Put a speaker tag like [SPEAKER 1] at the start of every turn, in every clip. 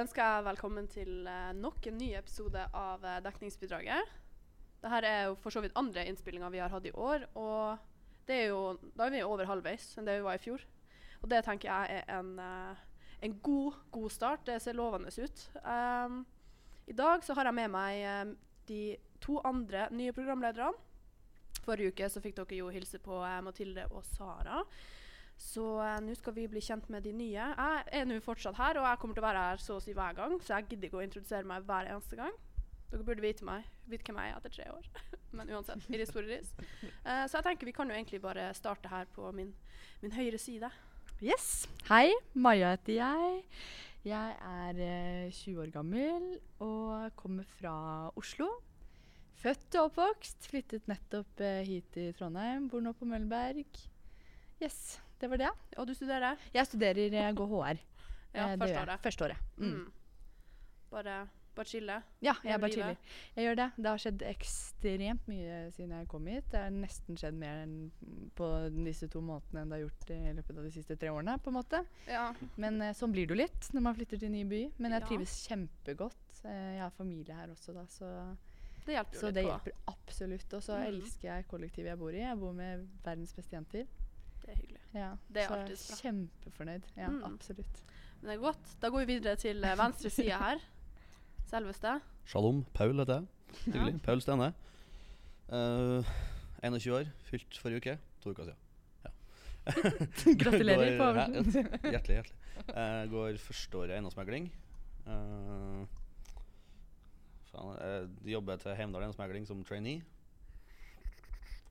[SPEAKER 1] ønsker jeg velkommen til eh, nok en ny episode av eh, Dekningsbidraget. Dette er jo for så vidt andre innspillinga vi har hatt i år, og det er jo, da er vi over halvveis enn det vi var i fjor. Og det tenker jeg er en, eh, en god, god start. Det ser lovende ut. Ehm, I dag så har jeg med meg eh, de to andre nye programlederne. Forrige uke så fikk dere jo hilse på eh, Mathilde og Sara. Så eh, nå skal vi bli kjent med de nye. Jeg er nå fortsatt her, og jeg kommer til å være her så å si hver gang, så jeg gidder ikke å introdusere meg hver eneste gang. Dere burde vite meg, vite hvem jeg er etter tre år. Men uansett, Iris Toriris. Uh, så jeg tenker vi kan jo egentlig bare starte her på min, min høyre side.
[SPEAKER 2] Yes. Hei, Maja heter jeg. Jeg er eh, 20 år gammel og kommer fra Oslo. Født og oppvokst. Flyttet nettopp eh, hit til Trondheim. Bor nå på Møllenberg. Yes, det var det.
[SPEAKER 1] Og du studerer?
[SPEAKER 2] Jeg studerer eh, GHR.
[SPEAKER 1] Ja,
[SPEAKER 2] Eh, det
[SPEAKER 1] første
[SPEAKER 2] gjør jeg.
[SPEAKER 1] året.
[SPEAKER 2] Førsteåret. Mm.
[SPEAKER 1] Mm. Bare, bare chille.
[SPEAKER 2] Ja, jeg
[SPEAKER 1] Lever
[SPEAKER 2] er bare
[SPEAKER 1] livet.
[SPEAKER 2] chiller. Jeg gjør det. Det har skjedd ekstremt mye siden jeg kom hit. Det har nesten skjedd mer enn på disse to månedene enn det har gjort i løpet av de siste tre årene. på en måte.
[SPEAKER 1] Ja.
[SPEAKER 2] Men eh, sånn blir det jo litt når man flytter til en ny by. Men jeg
[SPEAKER 1] Ja.
[SPEAKER 2] trives kjempegodt. Eh, jeg har familie her også, da, så,
[SPEAKER 1] Det hjelper jo
[SPEAKER 2] så
[SPEAKER 1] litt
[SPEAKER 2] det
[SPEAKER 1] på.
[SPEAKER 2] hjelper absolutt. Og så
[SPEAKER 1] Mhm.
[SPEAKER 2] elsker jeg kollektivet jeg bor i. Jeg bor med verdens beste jenter.
[SPEAKER 1] Det er hyggelig.
[SPEAKER 2] Ja,
[SPEAKER 1] Det er
[SPEAKER 2] så
[SPEAKER 1] alltid bra.
[SPEAKER 2] kjempefornøyd. Ja,
[SPEAKER 1] Mm.
[SPEAKER 2] absolutt.
[SPEAKER 1] Men det er godt. Da går vi videre til eh, venstre side her. Selveste.
[SPEAKER 3] Shalom. Paul heter jeg. Hyggelig. Paul Stene. Eh, 21 år. Fylt forrige uke. To uker siden. Ja.
[SPEAKER 2] Gratulerer på
[SPEAKER 3] Går- ja,
[SPEAKER 2] overten.
[SPEAKER 3] Hjertelig, hjertelig. Uh, går førsteåret eiendomsmegling. Eh, faen, eh, jobber til Heimdal Eiendomsmegling som trainee.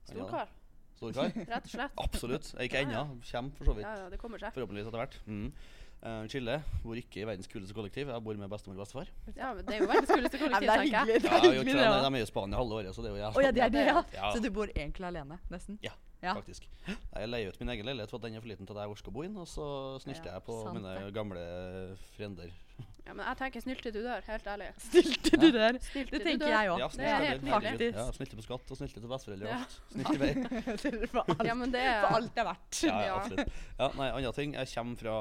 [SPEAKER 1] Stor
[SPEAKER 3] Ja,
[SPEAKER 1] kar,
[SPEAKER 3] Stor kar.
[SPEAKER 1] rett og slett.
[SPEAKER 3] Absolutt. Ikke
[SPEAKER 1] Ja, ja.
[SPEAKER 3] ennå. Kommer for så vidt.
[SPEAKER 1] Ja, ja, det kommer seg.
[SPEAKER 3] Forhåpentligvis etter hvert. Mm. Eh, Chille. Bor ikke i verdens kuleste kollektiv. Jeg bor med bestemor og bestefar.
[SPEAKER 1] Ja, men det er jo verdens kuleste kollektiv,
[SPEAKER 2] det er
[SPEAKER 1] tenker jeg.
[SPEAKER 2] hyggelig. Det
[SPEAKER 3] Ja,
[SPEAKER 2] er
[SPEAKER 3] jeg gjør
[SPEAKER 2] hyggelig,
[SPEAKER 3] ikke det,
[SPEAKER 2] det
[SPEAKER 3] men
[SPEAKER 2] da.
[SPEAKER 3] de er jo i Spania halve året, så det er jo jævla
[SPEAKER 2] Å ja, det er det, ja.
[SPEAKER 3] Ja.
[SPEAKER 2] Så du bor egentlig alene, nesten?
[SPEAKER 3] Ja.
[SPEAKER 2] Ja.
[SPEAKER 3] faktisk. Nei, Jeg leier ut min egen leilighet for at den er for liten til at jeg orker å bo inn, og så snylte
[SPEAKER 2] Ja,
[SPEAKER 3] jeg på
[SPEAKER 2] sant
[SPEAKER 3] mine
[SPEAKER 2] det.
[SPEAKER 3] gamle frender.
[SPEAKER 1] Ja, men jeg tenker snill til du dør, helt ærlig.
[SPEAKER 2] Stilte du der?
[SPEAKER 1] Snill
[SPEAKER 2] Det
[SPEAKER 1] til du
[SPEAKER 2] tenker
[SPEAKER 1] dør.
[SPEAKER 2] jeg òg.
[SPEAKER 3] Ja,
[SPEAKER 1] det er helt
[SPEAKER 3] snilte, til-
[SPEAKER 2] nydelig.
[SPEAKER 3] Ja, snilte på skatt og snilte til besteforeldre og
[SPEAKER 1] Ja.
[SPEAKER 3] alt. Snilte i vei.
[SPEAKER 2] For alt,
[SPEAKER 1] Ja, men det
[SPEAKER 2] for
[SPEAKER 1] er
[SPEAKER 2] alt det er verdt.
[SPEAKER 3] Ja, ja, absolutt. Ja, nei, andre ting. Jeg kommer fra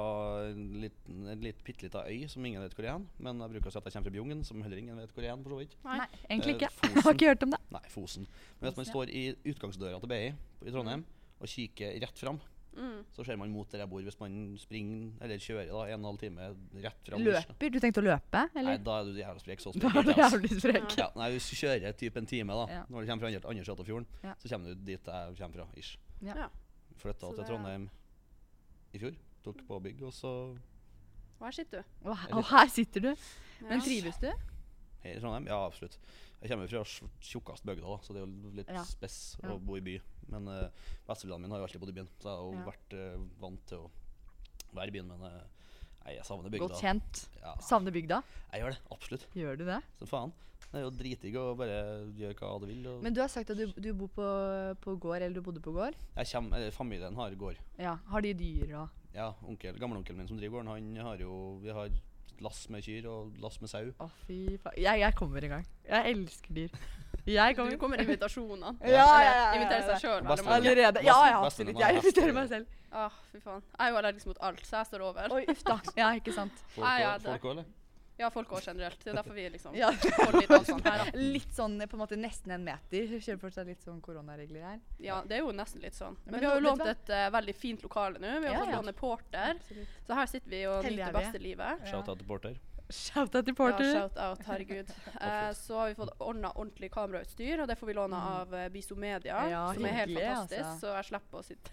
[SPEAKER 3] en liten, en litt bitte lita øy som ingen vet hvor er, men jeg bruker å si at jeg kommer fra Bjugn, som heller ingen vet hvor er, for så vidt.
[SPEAKER 1] Nei.
[SPEAKER 2] Nei, egentlig
[SPEAKER 3] Eh,
[SPEAKER 2] ikke.
[SPEAKER 3] Fosen.
[SPEAKER 2] Jeg har ikke hørt om det.
[SPEAKER 3] Nei, Fosen. Men hvis
[SPEAKER 2] Fosen,
[SPEAKER 3] man
[SPEAKER 2] Mm.
[SPEAKER 3] står i utgangsdøra til BI på- i Trondheim og kikker rett fram,
[SPEAKER 1] mm.
[SPEAKER 3] så ser man mot der jeg bor hvis man springer eller kjører da, en og en halv time rett fram.
[SPEAKER 2] Løper? Du tenkte å løpe,
[SPEAKER 3] Nei,
[SPEAKER 2] eller?
[SPEAKER 3] da er du jævla sprek. Så
[SPEAKER 2] Da
[SPEAKER 3] sprek
[SPEAKER 2] er
[SPEAKER 3] er
[SPEAKER 2] du
[SPEAKER 3] jeg, altså.
[SPEAKER 2] jævlig sprek.
[SPEAKER 3] Ja, nei, Hvis du kjører typ en time da,
[SPEAKER 2] Ja.
[SPEAKER 3] når du kommer fra andre, andre siden av fjorden,
[SPEAKER 2] Ja.
[SPEAKER 3] så kommer du dit jeg kommer fra. ish.
[SPEAKER 2] Ja.
[SPEAKER 1] Ja.
[SPEAKER 3] Flytta
[SPEAKER 1] Så
[SPEAKER 3] til
[SPEAKER 1] det-
[SPEAKER 3] Trondheim i fjor. Tok på bygg, og så
[SPEAKER 1] Og her sitter du.
[SPEAKER 2] Og her- og her sitter du.
[SPEAKER 1] Ja.
[SPEAKER 2] Men trives du?
[SPEAKER 3] her i Trondheim. Ja, absolutt. Jeg kommer fra sj- tjukkast bygda, da, så det er jo litt
[SPEAKER 2] Ja.
[SPEAKER 3] spess
[SPEAKER 2] Ja.
[SPEAKER 3] å bo i by. Men uh, besteforeldrene mine har jo alltid bodd i byen, så jeg har jo
[SPEAKER 2] Ja.
[SPEAKER 3] vært eh, vant til å være i byen. Men eh, nei, jeg savner bygda.
[SPEAKER 2] Godt kjent.
[SPEAKER 3] Ja,
[SPEAKER 2] Savner bygda?
[SPEAKER 3] jeg gjør det. Absolutt.
[SPEAKER 2] Gjør du det?
[SPEAKER 3] Så faen. Det er jo dritdigg å bare gjøre hva du vil. Og
[SPEAKER 2] Men du har sagt at du, du bor på, på gård, eller du bodde på gård?
[SPEAKER 3] jeg kommer, eller familien har gård.
[SPEAKER 2] Ja. Har de dyr og
[SPEAKER 3] Ja, onkel, gamleonkelen min som driver gården, han har jo Vi har lass med kyr og lass med sau.
[SPEAKER 2] Å, fy faen. Jeg, jeg kommer i gang. Jeg elsker dyr. Jeg
[SPEAKER 1] Du
[SPEAKER 2] kommer.
[SPEAKER 1] kommer invitasjonene.
[SPEAKER 2] Ja, ja, ja, ja,
[SPEAKER 1] Eller inviterer
[SPEAKER 2] ja.
[SPEAKER 1] seg sjøl veldig
[SPEAKER 3] Bestevenn.
[SPEAKER 1] mange.
[SPEAKER 2] Allerede. Ja, ja,
[SPEAKER 3] Vesten-
[SPEAKER 2] absolutt.
[SPEAKER 3] Vesten har
[SPEAKER 2] Jeg inviterer meg
[SPEAKER 3] hatt,
[SPEAKER 2] selv.
[SPEAKER 1] Å, fy faen. Jeg er jo allergisk mot alt, så jeg står over.
[SPEAKER 2] Oi, uff da. Ja, ikke sant.
[SPEAKER 3] Folk
[SPEAKER 1] Ah, ja,
[SPEAKER 3] også-
[SPEAKER 1] det-
[SPEAKER 3] folk også, eller?
[SPEAKER 1] Ja, folk òg generelt. Det er derfor vi liksom
[SPEAKER 2] Ja.
[SPEAKER 1] får litt avstand her. da.
[SPEAKER 2] Litt sånn på en måte nesten en meter. Kjører fortsatt litt sånn koronaregler her.
[SPEAKER 1] Ja, det er jo nesten litt sånn.
[SPEAKER 2] Men
[SPEAKER 1] Men vi har jo
[SPEAKER 2] nå-
[SPEAKER 1] lånt
[SPEAKER 2] vet du hva?
[SPEAKER 1] et eh, veldig fint lokale nå. Vi har
[SPEAKER 2] Ja,
[SPEAKER 1] fått
[SPEAKER 2] ja.
[SPEAKER 1] låne porter.
[SPEAKER 2] Absolutt.
[SPEAKER 1] Så her sitter vi og
[SPEAKER 2] Heldige
[SPEAKER 1] nyter
[SPEAKER 2] er vi.
[SPEAKER 1] beste livet.
[SPEAKER 3] Shout out til Porter.
[SPEAKER 2] Shout out til
[SPEAKER 1] Ja,
[SPEAKER 2] Porter.
[SPEAKER 1] shout-out, herregud. Eh, så har vi fått ordna ordentlig kamerautstyr, og det får vi låne av eh, Bisomedia,
[SPEAKER 2] Mm. Ja,
[SPEAKER 1] som er helt
[SPEAKER 2] hyggelig,
[SPEAKER 1] fantastisk.
[SPEAKER 2] altså.
[SPEAKER 1] Så jeg slipper å sitte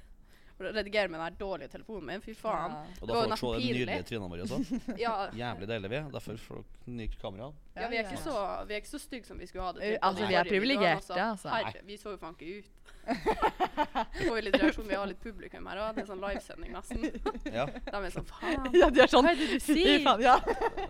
[SPEAKER 1] og redigere med den her dårlige telefonen min. Fy faen.
[SPEAKER 2] Ja.
[SPEAKER 3] Og
[SPEAKER 1] Det
[SPEAKER 3] da
[SPEAKER 1] var
[SPEAKER 3] får
[SPEAKER 1] jo
[SPEAKER 3] dere se
[SPEAKER 1] nesten
[SPEAKER 3] de
[SPEAKER 1] pinlig.
[SPEAKER 3] nydelige trynene våre også.
[SPEAKER 1] Ja,
[SPEAKER 3] Jævlig deilige vi er. Derfor får dere nytt kamera.
[SPEAKER 1] ja, vi, er ikke så, vi er ikke så stygge som vi skulle ha det
[SPEAKER 2] Eh,
[SPEAKER 1] til. på
[SPEAKER 2] altså,
[SPEAKER 1] de
[SPEAKER 2] vi er
[SPEAKER 1] forrige videoene,
[SPEAKER 2] privilegerte, altså.
[SPEAKER 1] Herre, vi så jo faen ikke ut. Vi får jo litt reaksjon, vi har litt publikum her òg. Det er sånn livesending, nesten.
[SPEAKER 3] Ja.
[SPEAKER 1] De er sånn faen.
[SPEAKER 2] Ja, de er sånn
[SPEAKER 1] Hva er det du
[SPEAKER 2] Fy
[SPEAKER 1] sier?
[SPEAKER 2] faen, ja.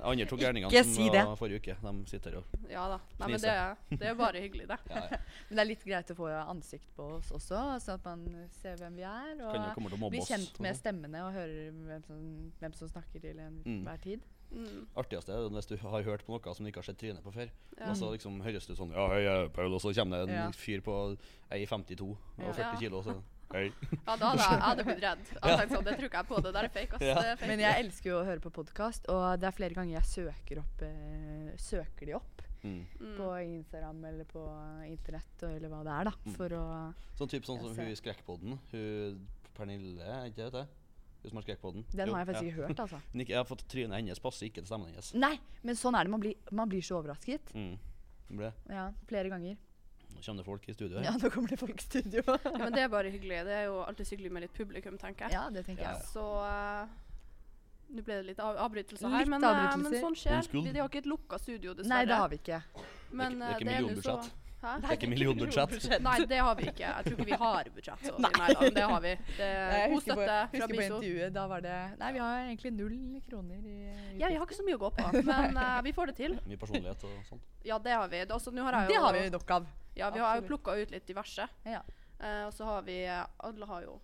[SPEAKER 3] Andre to gærningene
[SPEAKER 2] Ikke
[SPEAKER 3] som
[SPEAKER 2] si
[SPEAKER 3] var forrige uke, de sitter her og
[SPEAKER 1] Ja da. Nei, men det,
[SPEAKER 3] Fnise.
[SPEAKER 1] det er bare hyggelig, det.
[SPEAKER 3] ja, ja.
[SPEAKER 2] Men det er litt greit å få ansikt på oss også, sånn at man ser hvem vi er.
[SPEAKER 3] Kan jo
[SPEAKER 2] Og
[SPEAKER 3] komme til å mobbe
[SPEAKER 2] blir
[SPEAKER 3] oss.
[SPEAKER 2] kjent
[SPEAKER 3] og
[SPEAKER 2] med
[SPEAKER 3] sånn.
[SPEAKER 2] stemmene og hører hvem som, hvem som snakker til en
[SPEAKER 3] Mm.
[SPEAKER 2] hver tid.
[SPEAKER 1] Mm,
[SPEAKER 3] Artigste er hvis du har hørt på noe som du ikke har sett trynet på før.
[SPEAKER 1] ja.
[SPEAKER 3] Og så liksom høres du sånn Ja, hei, jeg er Paul, og så kommer det en
[SPEAKER 2] Ja.
[SPEAKER 3] fyr på ei 52 og
[SPEAKER 2] Ja.
[SPEAKER 3] 40 kilo, og så Hei.
[SPEAKER 1] Ja, da hadde jeg, jeg hadde blitt redd. Jeg hadde tenkt sånn, det tror ikke jeg på, det der er fake. ass.
[SPEAKER 3] Ja.
[SPEAKER 1] Det er fake.
[SPEAKER 2] Men jeg elsker jo å høre på podkast, og det er flere ganger jeg søker opp eh, Søker de opp
[SPEAKER 3] Mm.
[SPEAKER 2] på Instagram eller på internett og- eller hva det er, da.
[SPEAKER 3] Mm.
[SPEAKER 2] For å
[SPEAKER 3] Sånn type sånn
[SPEAKER 2] Jeg
[SPEAKER 3] som
[SPEAKER 2] ser.
[SPEAKER 3] hun i Skrekkpodden. Hun Pernille, er ikke det det? heter? Hun som har Skrekkpodden.
[SPEAKER 2] Den
[SPEAKER 3] Jo,
[SPEAKER 2] har jeg faktisk
[SPEAKER 3] ja.
[SPEAKER 2] ikke hørt, altså.
[SPEAKER 3] Men ikke- Jeg har fått trynet hennes passer ikke til stemmen hennes.
[SPEAKER 2] Nei, men sånn er det. Man blir, man blir så overrasket.
[SPEAKER 3] Mm. Det ble-
[SPEAKER 2] Ja, Flere ganger.
[SPEAKER 3] Nå kommer det folk i studio her.
[SPEAKER 2] Ja, nå kommer det folk i studio.
[SPEAKER 1] Ja, men det er bare hyggelig. Det er jo alltid hyggelig med litt publikum, tenker jeg.
[SPEAKER 2] ja, det tenker
[SPEAKER 3] Ja.
[SPEAKER 2] jeg.
[SPEAKER 1] Så eh, nå ble det litt av avbrytelser her,
[SPEAKER 2] Litt
[SPEAKER 1] men, eh,
[SPEAKER 2] avbrytelser.
[SPEAKER 1] men sånn
[SPEAKER 3] Old
[SPEAKER 1] skjer.
[SPEAKER 3] school.
[SPEAKER 1] Vi, det er jo ikke et lukka studio,
[SPEAKER 2] også. Nei,
[SPEAKER 1] dessverre.
[SPEAKER 2] det har vi ikke.
[SPEAKER 1] Men,
[SPEAKER 3] Det er ikke- det er
[SPEAKER 1] eh,
[SPEAKER 3] ikke
[SPEAKER 1] nå så-
[SPEAKER 3] millionbudsjett.
[SPEAKER 1] Hæ?
[SPEAKER 3] Det er ikke millionbudsjett.
[SPEAKER 1] Nei, det har vi ikke. Jeg tror ikke vi har budsjett. Så.
[SPEAKER 2] Nei.
[SPEAKER 1] Nei. da, men det har vi. Det
[SPEAKER 2] Nei,
[SPEAKER 1] er
[SPEAKER 2] jeg
[SPEAKER 1] god
[SPEAKER 2] husker på,
[SPEAKER 1] støtte
[SPEAKER 2] husker
[SPEAKER 1] fra
[SPEAKER 2] på
[SPEAKER 1] Biso.
[SPEAKER 2] intervjuet. Da var det Nei, vi har egentlig null kroner i utgifter.
[SPEAKER 1] Ja, vi har ikke så mye å gå på, men eh, vi får det til.
[SPEAKER 3] Mye personlighet og sånn.
[SPEAKER 1] Ja, det har vi. Det, altså, nå har jeg jo,
[SPEAKER 2] Det har vi jo nok av.
[SPEAKER 1] Ja, vi har jo
[SPEAKER 2] Absolutt.
[SPEAKER 1] plukka ut litt diverse.
[SPEAKER 2] Ja.
[SPEAKER 1] Eh, og så har vi eh, Alle har jo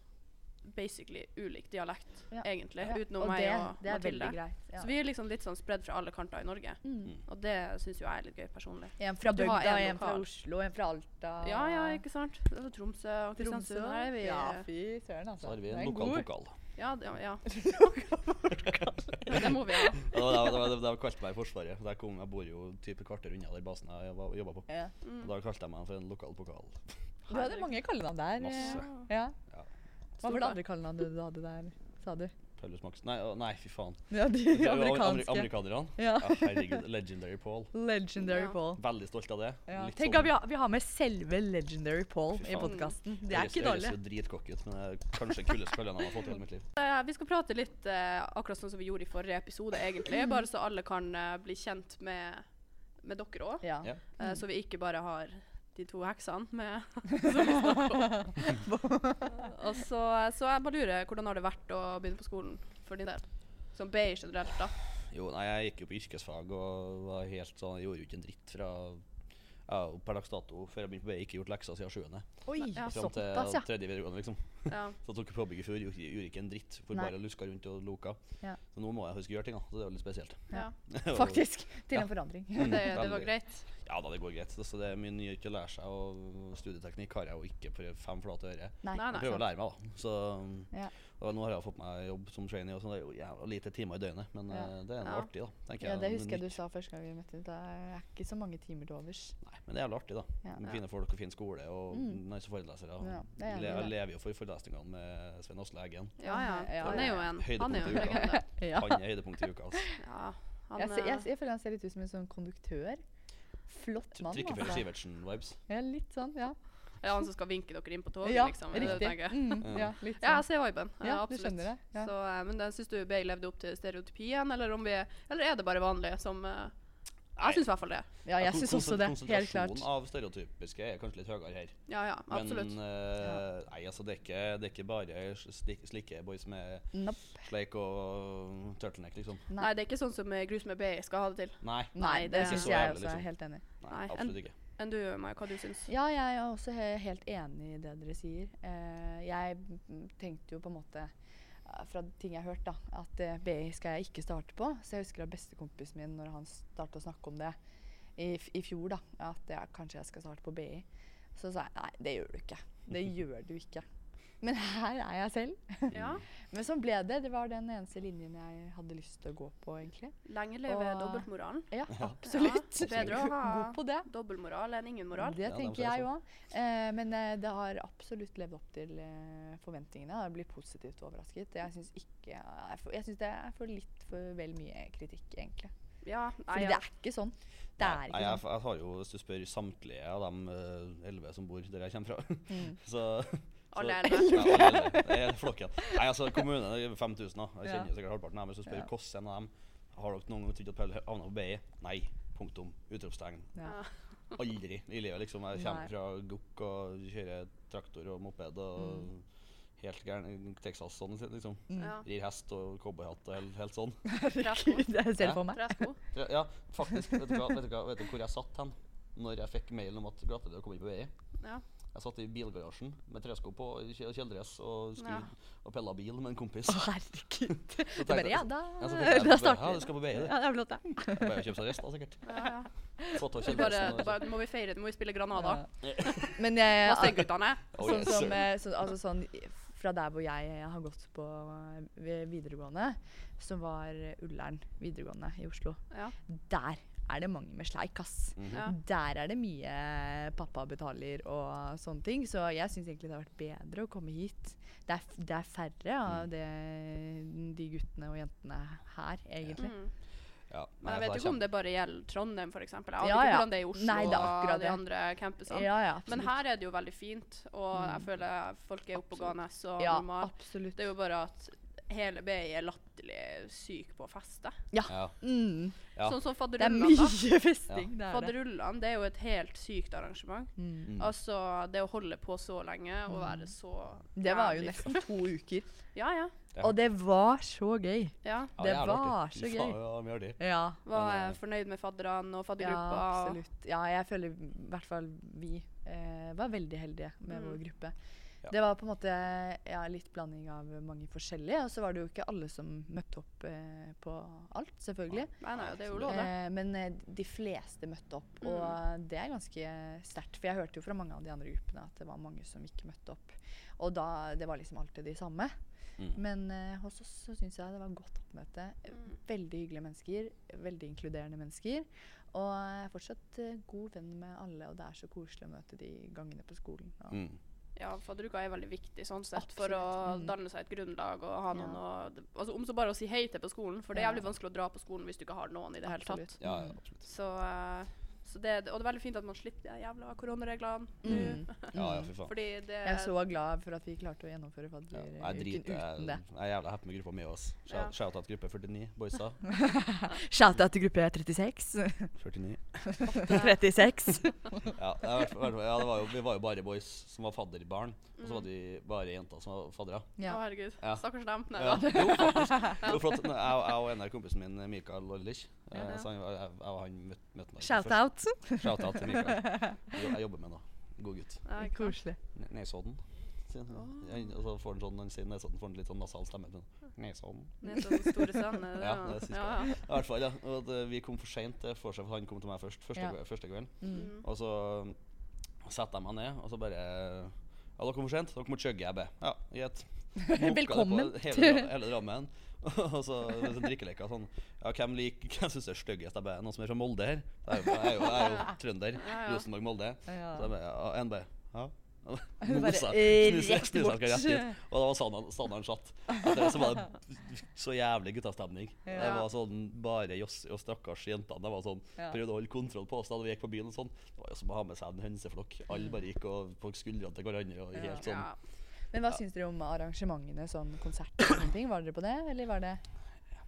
[SPEAKER 1] basically ulik dialekt,
[SPEAKER 2] Ja.
[SPEAKER 1] egentlig.
[SPEAKER 2] Ja,
[SPEAKER 1] Utenom
[SPEAKER 2] og
[SPEAKER 1] meg
[SPEAKER 2] det,
[SPEAKER 1] og
[SPEAKER 2] det er
[SPEAKER 1] Mathilde.
[SPEAKER 2] veldig greit. Ja.
[SPEAKER 1] Så vi er liksom litt sånn spredd fra alle kanter i Norge.
[SPEAKER 2] Mm.
[SPEAKER 1] Og det syns jo jeg er litt gøy personlig.
[SPEAKER 2] En fra
[SPEAKER 1] Du har
[SPEAKER 2] bygda,
[SPEAKER 1] en
[SPEAKER 2] en fra
[SPEAKER 1] lokal.
[SPEAKER 2] Oslo, en fra Alta.
[SPEAKER 1] Ja, ja, ikke sant? Det er Tromsø og
[SPEAKER 2] Ah. Tromsø.
[SPEAKER 1] Kristiansund. Her er vi
[SPEAKER 2] Ja,
[SPEAKER 1] Ja,
[SPEAKER 2] fy søren, altså.
[SPEAKER 3] Så har vi
[SPEAKER 2] Det er
[SPEAKER 3] en
[SPEAKER 2] god-
[SPEAKER 3] lokal pokal.
[SPEAKER 1] det- ja. Det må vi ha.
[SPEAKER 3] Ja, det, var- det, var- det kalte meg i Forsvaret. Der kom, jeg bor jo type kvarter unna der basen jeg var- jobba på.
[SPEAKER 2] Ja.
[SPEAKER 1] Mm.
[SPEAKER 3] Da kalte jeg meg for en lokal pokal.
[SPEAKER 2] Du hadde mange kallenavn der. eh.
[SPEAKER 3] Masse.
[SPEAKER 2] Ja. Hva
[SPEAKER 1] Stort
[SPEAKER 2] var det
[SPEAKER 1] da.
[SPEAKER 2] andre kallenavn du hadde der, sa du?
[SPEAKER 3] Paulus Max Nei, å, nei fy faen.
[SPEAKER 2] Ja, de
[SPEAKER 3] Det var jo amer-
[SPEAKER 2] amerikanske.
[SPEAKER 3] Amerikanerne.
[SPEAKER 2] Ja.
[SPEAKER 3] Ja, herregud. Legendary Paul.
[SPEAKER 2] Legendary
[SPEAKER 1] Ja.
[SPEAKER 2] Paul.
[SPEAKER 3] Veldig stolt av det.
[SPEAKER 2] Ja.
[SPEAKER 3] Litt
[SPEAKER 2] Tenk
[SPEAKER 3] sånn-
[SPEAKER 2] at vi har, vi har med selve Legendary Paul
[SPEAKER 3] Fy
[SPEAKER 2] i
[SPEAKER 3] faen.
[SPEAKER 2] podkasten. Det er
[SPEAKER 3] høres-
[SPEAKER 2] ikke dårlig.
[SPEAKER 3] Høres jo dritkokk ut, men det er kanskje kuleste kallenavn jeg har fått i hele mitt liv.
[SPEAKER 1] Eh, Vi skal prate litt eh, akkurat sånn som vi gjorde i forrige episode,
[SPEAKER 2] Mm.
[SPEAKER 1] egentlig. Bare så alle kan eh, bli kjent med, med dere òg.
[SPEAKER 2] Ja.
[SPEAKER 3] Ja.
[SPEAKER 1] Eh, så
[SPEAKER 2] Mm.
[SPEAKER 1] vi ikke bare har de to heksene med. Og så, så jeg bare lurer, hvordan har det vært å begynne på skolen for din del? Som BI generelt, da.
[SPEAKER 3] Jo, nei, jeg gikk jo på yrkesfag og var helt sånn, jeg gjorde jo ikke en dritt fra ja, og per dags dato før jeg begynte på BI. Ikke gjort lekser siden sjuende.
[SPEAKER 2] Oi,
[SPEAKER 1] Ja.
[SPEAKER 3] Fram til
[SPEAKER 2] såpass, ja.
[SPEAKER 3] tredje videregående, liksom.
[SPEAKER 1] Ja.
[SPEAKER 3] Så tok jeg påbygg i fjor, gjorde, gjorde ikke en dritt. For
[SPEAKER 2] Nei.
[SPEAKER 3] bare luska rundt og loka.
[SPEAKER 2] Ja.
[SPEAKER 3] Så nå må jeg huske å gjøre ting, da. Så det er jo litt spesielt.
[SPEAKER 1] Ja.
[SPEAKER 3] Og-
[SPEAKER 2] Faktisk. Til
[SPEAKER 3] Ja.
[SPEAKER 2] en forandring.
[SPEAKER 1] Det,
[SPEAKER 3] Mm,
[SPEAKER 1] det var
[SPEAKER 3] veldig.
[SPEAKER 1] greit.
[SPEAKER 3] Ja da, det går greit. Så det er mye nytt å lære seg, og studieteknikk har jeg jo ikke på fem flate øre.
[SPEAKER 2] Nei.
[SPEAKER 1] Nei,
[SPEAKER 3] Jeg
[SPEAKER 1] nei.
[SPEAKER 3] prøver å lære meg, da. Så,
[SPEAKER 2] Ja.
[SPEAKER 3] og nå har jeg fått meg jobb som trainee, og sånn. Det er jo jævla lite timer i døgnet, men
[SPEAKER 2] Ja.
[SPEAKER 3] eh, det er noe
[SPEAKER 1] Ja.
[SPEAKER 3] artig, da. tenker
[SPEAKER 2] Ja, det
[SPEAKER 3] Men
[SPEAKER 2] husker
[SPEAKER 3] nytt-
[SPEAKER 2] jeg du sa første gang vi møttes. Det er ikke så mange timer til overs.
[SPEAKER 3] Nei, men det er jævlig artig, da.
[SPEAKER 2] Ja.
[SPEAKER 3] Med
[SPEAKER 1] Ja.
[SPEAKER 3] Fine folk og fin skole og
[SPEAKER 2] Mm.
[SPEAKER 3] nice forelesere.
[SPEAKER 2] Ja,
[SPEAKER 3] og
[SPEAKER 2] det er
[SPEAKER 3] le-
[SPEAKER 2] jævlig
[SPEAKER 3] jeg
[SPEAKER 2] det.
[SPEAKER 3] lever jo for forelesningene med Svein Asle Eggen.
[SPEAKER 1] Ja, ja.
[SPEAKER 2] Ja,
[SPEAKER 1] Han er jo en, han er jo en
[SPEAKER 3] Høydepunkt i uka.
[SPEAKER 1] legende.
[SPEAKER 2] Ja.
[SPEAKER 3] Han er høydepunktet i uka. Altså.
[SPEAKER 1] Ja, han,
[SPEAKER 2] Jeg, ser, jeg,
[SPEAKER 1] eh,
[SPEAKER 2] jeg føler han ser litt ut som en sånn konduktør. Flott mann. altså.
[SPEAKER 3] Trykkefølge Sivertsen-vibes.
[SPEAKER 2] Ja, litt sånn, ja.
[SPEAKER 1] eh, er han som skal vinke dere inn på toget,
[SPEAKER 2] ja
[SPEAKER 1] liksom. er det du
[SPEAKER 2] riktig.
[SPEAKER 1] tenker?
[SPEAKER 2] Mm,
[SPEAKER 3] Ja.
[SPEAKER 2] ja, litt
[SPEAKER 1] Ja,
[SPEAKER 2] sånn.
[SPEAKER 1] jeg ser viben. eh,
[SPEAKER 2] Ja, du
[SPEAKER 1] absolutt.
[SPEAKER 2] skjønner det. Ja.
[SPEAKER 1] Så, eh, men syns du BI levde opp til stereotypien, eller, om vi, eller er det bare vanlig som eh, Jeg syns i hvert fall det.
[SPEAKER 2] Ja, jeg
[SPEAKER 3] kon-
[SPEAKER 2] syns også
[SPEAKER 3] konsen-
[SPEAKER 2] det. Helt klart.
[SPEAKER 3] Konsentrasjonen av stereotypiske er kanskje litt høyere her.
[SPEAKER 1] Ja, ja, absolutt.
[SPEAKER 3] Men eh, nei, altså, det er ikke, det er ikke bare slik, slike boys med
[SPEAKER 2] Nope.
[SPEAKER 3] sleik og turtleneck, liksom.
[SPEAKER 2] nei.
[SPEAKER 1] Nei, det er ikke sånn som eh, Grus med BI skal ha det til.
[SPEAKER 3] Nei,
[SPEAKER 2] Nei,
[SPEAKER 1] Nei, det
[SPEAKER 2] det
[SPEAKER 1] er
[SPEAKER 2] syns
[SPEAKER 3] så
[SPEAKER 2] jeg
[SPEAKER 3] jævlig,
[SPEAKER 2] også. Jeg
[SPEAKER 3] liksom.
[SPEAKER 2] er helt enig.
[SPEAKER 3] nei
[SPEAKER 1] Nei, en-
[SPEAKER 3] absolutt ikke.
[SPEAKER 1] Enn du, Maja, hva du syns?
[SPEAKER 2] Ja, jeg er også he helt enig i det dere sier. Eh, jeg mm, tenkte jo på en måte eh, fra ting jeg har hørt, da, at eh, BI skal jeg ikke starte på. Så jeg husker at bestekompisen min, når han startet å snakke om det i, f- i fjor, da, at ja, kanskje jeg skal starte på BI, så sa jeg nei, det gjør du ikke. Det gjør du ikke. Men her er jeg selv.
[SPEAKER 1] Ja.
[SPEAKER 2] Men sånn ble det. Det var den eneste linjen jeg hadde lyst til å gå på, egentlig.
[SPEAKER 1] Lenge leve
[SPEAKER 2] Og-
[SPEAKER 1] dobbeltmoralen.
[SPEAKER 2] Ja, absolutt.
[SPEAKER 1] Ja, bedre å ha
[SPEAKER 2] God på det.
[SPEAKER 1] dobbeltmoral enn ingen moral.
[SPEAKER 2] Det
[SPEAKER 3] Ja, det sånn. må
[SPEAKER 2] tenker
[SPEAKER 3] jeg
[SPEAKER 2] jeg òg. Eh, men eh, det har absolutt levd opp til eh, forventningene. Jeg blir positivt overrasket. Jeg syns ikke jeg får- Jeg syns det er for litt for vel mye kritikk, egentlig.
[SPEAKER 1] Ja, nei,
[SPEAKER 2] Mm. Fordi
[SPEAKER 1] ja.
[SPEAKER 2] det er ikke sånn. Det er
[SPEAKER 3] Nei,
[SPEAKER 2] ikke
[SPEAKER 3] jeg,
[SPEAKER 2] sånn.
[SPEAKER 3] jeg har jo, hvis du spør samtlige av de elleve som bor der jeg kommer fra,
[SPEAKER 2] Mm.
[SPEAKER 3] så
[SPEAKER 1] Alle
[SPEAKER 3] så-
[SPEAKER 1] er det.
[SPEAKER 3] Ja, alle er det. Det er hele flokken. Nei, altså, kommunen er 5000, da. Jeg
[SPEAKER 2] Ja.
[SPEAKER 3] kjenner jo sikkert halvparten av dem. Hvis du spør
[SPEAKER 2] Ja.
[SPEAKER 3] hvordan en av dem har dere noen gang trodd at Paul havna på BI? Nei. Punktum. Utropstegn.
[SPEAKER 2] Ja.
[SPEAKER 3] Aldri i livet, liksom. Jeg
[SPEAKER 2] Nei.
[SPEAKER 3] kommer fra Gokk og kjører traktor og moped og
[SPEAKER 2] Mm.
[SPEAKER 3] helt gæren Texas sånn, liksom.
[SPEAKER 1] Ja.
[SPEAKER 3] Rir hest og cowboyhatt og helt, helt sånn.
[SPEAKER 1] Tresko.
[SPEAKER 2] Det er jeg ser for meg.
[SPEAKER 1] Tresko.
[SPEAKER 3] Ja, Ja, faktisk. Vet du, hva, vet, du hva, vet du hvor jeg satt hen når jeg fikk mailen om at Glattedø kom inn på BI?
[SPEAKER 1] Ja.
[SPEAKER 3] Jeg satt i bilgarasjen med tresko på og kje- kjeledress og, skulle-
[SPEAKER 1] Ja.
[SPEAKER 3] og pilla bil med en kompis.
[SPEAKER 2] Å, herregud.
[SPEAKER 3] Så
[SPEAKER 2] Jeg bare,
[SPEAKER 3] tenkte
[SPEAKER 2] ja, da,
[SPEAKER 3] Ja, så tenkte jeg,
[SPEAKER 2] da
[SPEAKER 3] jeg bare,
[SPEAKER 2] starter
[SPEAKER 3] ja,
[SPEAKER 2] vi.
[SPEAKER 3] du skal på BI, du.
[SPEAKER 2] Ja, det er flott, det.
[SPEAKER 3] Det er Bare å kjøpe seg rest, da, sikkert.
[SPEAKER 1] Ja, ja.
[SPEAKER 3] Fått av
[SPEAKER 1] Så Bare,
[SPEAKER 3] kjeledressen. og-
[SPEAKER 1] bare, nå må vi feire, nå må vi spille Granada.
[SPEAKER 2] Men jeg,
[SPEAKER 1] Hva sier guttene?
[SPEAKER 3] Oh,
[SPEAKER 2] sånn
[SPEAKER 3] yes,
[SPEAKER 2] som,
[SPEAKER 3] sir.
[SPEAKER 2] eh, sånn- altså sånn, i- fra der hvor jeg eh, har gått på eh, vi- videregående, som var eh, Ullern videregående i Oslo,
[SPEAKER 1] Ja.
[SPEAKER 2] der er det mange med sleik, ass.
[SPEAKER 3] Mhm.
[SPEAKER 1] Ja.
[SPEAKER 2] Der er det mye pappa betaler og sånne ting, så jeg syns egentlig det har vært bedre å komme hit. Det er, f- det er færre
[SPEAKER 3] Mm.
[SPEAKER 2] av det, de guttene og jentene her, egentlig.
[SPEAKER 1] Mm.
[SPEAKER 3] Ja,
[SPEAKER 1] Men jeg vet jo ikke om det bare gjelder Trondheim, f.eks. Jeg aner
[SPEAKER 2] Ja,
[SPEAKER 1] ikke
[SPEAKER 2] ja.
[SPEAKER 1] hvordan det er i Oslo
[SPEAKER 2] Nei, det er akkurat
[SPEAKER 1] og de
[SPEAKER 2] det.
[SPEAKER 1] andre campusene.
[SPEAKER 2] Ja, ja,
[SPEAKER 1] Men
[SPEAKER 2] absolutt.
[SPEAKER 1] her er det jo veldig fint, og jeg føler folk er oppegående og
[SPEAKER 2] ja,
[SPEAKER 1] normale.
[SPEAKER 2] absolutt.
[SPEAKER 1] Det er jo bare at hele BI er latterlig syk på å feste.
[SPEAKER 3] Ja.
[SPEAKER 2] Mm.
[SPEAKER 3] Ja.
[SPEAKER 1] Sånn som
[SPEAKER 2] Det er
[SPEAKER 1] fadderullan. da.
[SPEAKER 2] mye festing. Det er det.
[SPEAKER 1] Fadderullan det er jo et helt sykt arrangement.
[SPEAKER 2] Mm.
[SPEAKER 3] Mm.
[SPEAKER 1] Altså, det å holde på så lenge og være så
[SPEAKER 2] Det var jo
[SPEAKER 1] jævlig-
[SPEAKER 2] nesten to uker.
[SPEAKER 1] Ja, ja.
[SPEAKER 3] Ja.
[SPEAKER 2] Og det var så gøy.
[SPEAKER 1] ja.
[SPEAKER 3] Ja,
[SPEAKER 2] det
[SPEAKER 3] jævlig artig.
[SPEAKER 2] var
[SPEAKER 3] Fy
[SPEAKER 2] så gøy.
[SPEAKER 3] faen, Ja, mye artig.
[SPEAKER 2] Ja.
[SPEAKER 1] Var
[SPEAKER 3] Men, eh,
[SPEAKER 1] eh, fornøyd med fadderne og
[SPEAKER 2] Ja,
[SPEAKER 1] faddergruppa. og-
[SPEAKER 2] absolutt. Ja, jeg føler i hvert fall vi eh, var veldig heldige med
[SPEAKER 1] Mm.
[SPEAKER 2] vår gruppe.
[SPEAKER 3] Ja.
[SPEAKER 2] Det var på en måte ja, litt blanding av mange forskjellige, og så var det jo ikke alle som møtte opp eh, på alt, selvfølgelig.
[SPEAKER 1] Nei, nei, det Mm. er jo lov, det.
[SPEAKER 2] Eh, men eh, de fleste møtte opp, og det er ganske sterkt. For jeg hørte jo fra mange av de andre gruppene at det var mange som ikke møtte opp. Og da, det var liksom alltid de samme.
[SPEAKER 3] Mm.
[SPEAKER 2] Men eh, hos oss så syns jeg det var godt oppmøte.
[SPEAKER 1] Mm.
[SPEAKER 2] Veldig hyggelige mennesker. Veldig inkluderende mennesker. Og jeg er fortsatt eh, god venn med alle, og det er så koselig å møte de gangene på skolen. Og,
[SPEAKER 3] Mm.
[SPEAKER 1] Ja, fadderuka er veldig viktig sånn sett for å
[SPEAKER 2] Absolutt, mm.
[SPEAKER 1] danne seg et grunnlag og ha noen
[SPEAKER 2] Ja.
[SPEAKER 1] å Altså om så bare å si hei til på skolen, for det er
[SPEAKER 2] Ja.
[SPEAKER 1] jævlig vanskelig å dra på skolen hvis du ikke har noen i det hele tatt.
[SPEAKER 2] Absolutt.
[SPEAKER 3] Ja, ja, absolutt.
[SPEAKER 1] Så, eh, så det, og det er veldig fint at man slipper de jævla koronareglene
[SPEAKER 2] Mm.
[SPEAKER 1] nå.
[SPEAKER 3] Ja, ja, fy faen.
[SPEAKER 1] Fordi det
[SPEAKER 2] Jeg er så glad for at vi klarte å gjennomføre
[SPEAKER 3] Ja,
[SPEAKER 2] fadderuken
[SPEAKER 3] jeg driter
[SPEAKER 2] uten det.
[SPEAKER 3] jeg, jeg er jævla happy med gruppa mi også.
[SPEAKER 1] Ja.
[SPEAKER 3] Shout- Shout-out gruppe 49, boysa.
[SPEAKER 2] Shout-out til gruppe 36.
[SPEAKER 3] 49.
[SPEAKER 2] 36.
[SPEAKER 3] Ja, det, er hvert fall- hvert fall- ja, det var jo, vi var jo bare boys som var fadderbarn, og så var de bare jenter som var faddere.
[SPEAKER 1] Å,
[SPEAKER 2] ja.
[SPEAKER 1] herregud.
[SPEAKER 3] Ja.
[SPEAKER 1] Stakkars dem. Nei,
[SPEAKER 3] Ja,
[SPEAKER 1] da.
[SPEAKER 3] jo, faktisk. Jo, for at når jeg, jeg og en av kompisen min, Mikael Lollich, eh,
[SPEAKER 1] Ja, ja.
[SPEAKER 3] så han, jeg, jeg og han møtte møtte han
[SPEAKER 2] Shout-out.
[SPEAKER 3] først. Shout-out til Mikael. Jo, Jeg jobber med han, da. God gutt.
[SPEAKER 1] Ja, ikke sant?
[SPEAKER 2] Koselig.
[SPEAKER 3] Ne- Nesodden. sier han. Han- Og så får han sånn, han sier Nesodden, får han litt sånn nasal stemme. men Nesodden.
[SPEAKER 1] Nesodden, store sønn. er det
[SPEAKER 3] Ja,
[SPEAKER 1] det?
[SPEAKER 3] det synes
[SPEAKER 1] ja, ja.
[SPEAKER 3] I hvert fall, ja. Og at, eh, vi kom for seint til vorset, for han kom til meg først. Første,
[SPEAKER 2] Ja.
[SPEAKER 3] kve- første kvelden.
[SPEAKER 1] Mm.
[SPEAKER 3] Og så um, setter jeg meg ned, og så bare Ja, dere kom for sent. Dere må chugge, jeg ber. Ja, greit. Boka det på
[SPEAKER 2] Velkommen.
[SPEAKER 3] Hele, dra- hele Drammen. og så sånn drikkeleker sånn Ja, hvem liker Hvem syns det er styggest? Jeg bare Noen som er fra Molde her? Jeg er jo, jeg er jo, jeg er jo trønder.
[SPEAKER 1] Ja, ja.
[SPEAKER 3] Rosenborg-Molde.
[SPEAKER 2] Ja.
[SPEAKER 3] Så jeg bare Ja, en bare Ja.
[SPEAKER 2] Bare
[SPEAKER 3] Mosa.
[SPEAKER 2] eh,
[SPEAKER 3] Snus-
[SPEAKER 2] rett
[SPEAKER 3] snusa
[SPEAKER 2] bort.
[SPEAKER 3] skal rett dit. Og da var standarden, standarden satt. Etter det så var det så jævlig guttastemning. Det
[SPEAKER 1] Ja.
[SPEAKER 3] var sånn bare Joss og stakkars jentene. Det var sånn,
[SPEAKER 2] Ja.
[SPEAKER 3] Prøvde å holde kontroll på oss da vi gikk på byen. og sånn. Det var jo som å ha med seg en hønseflokk.
[SPEAKER 2] Mm.
[SPEAKER 3] Alle bare gikk og på skuldrene til hverandre. og helt sånn.
[SPEAKER 1] Ja.
[SPEAKER 2] Men hva syns dere om arrangementene, sånn konserter og sånne ting? Var dere på det, eller var det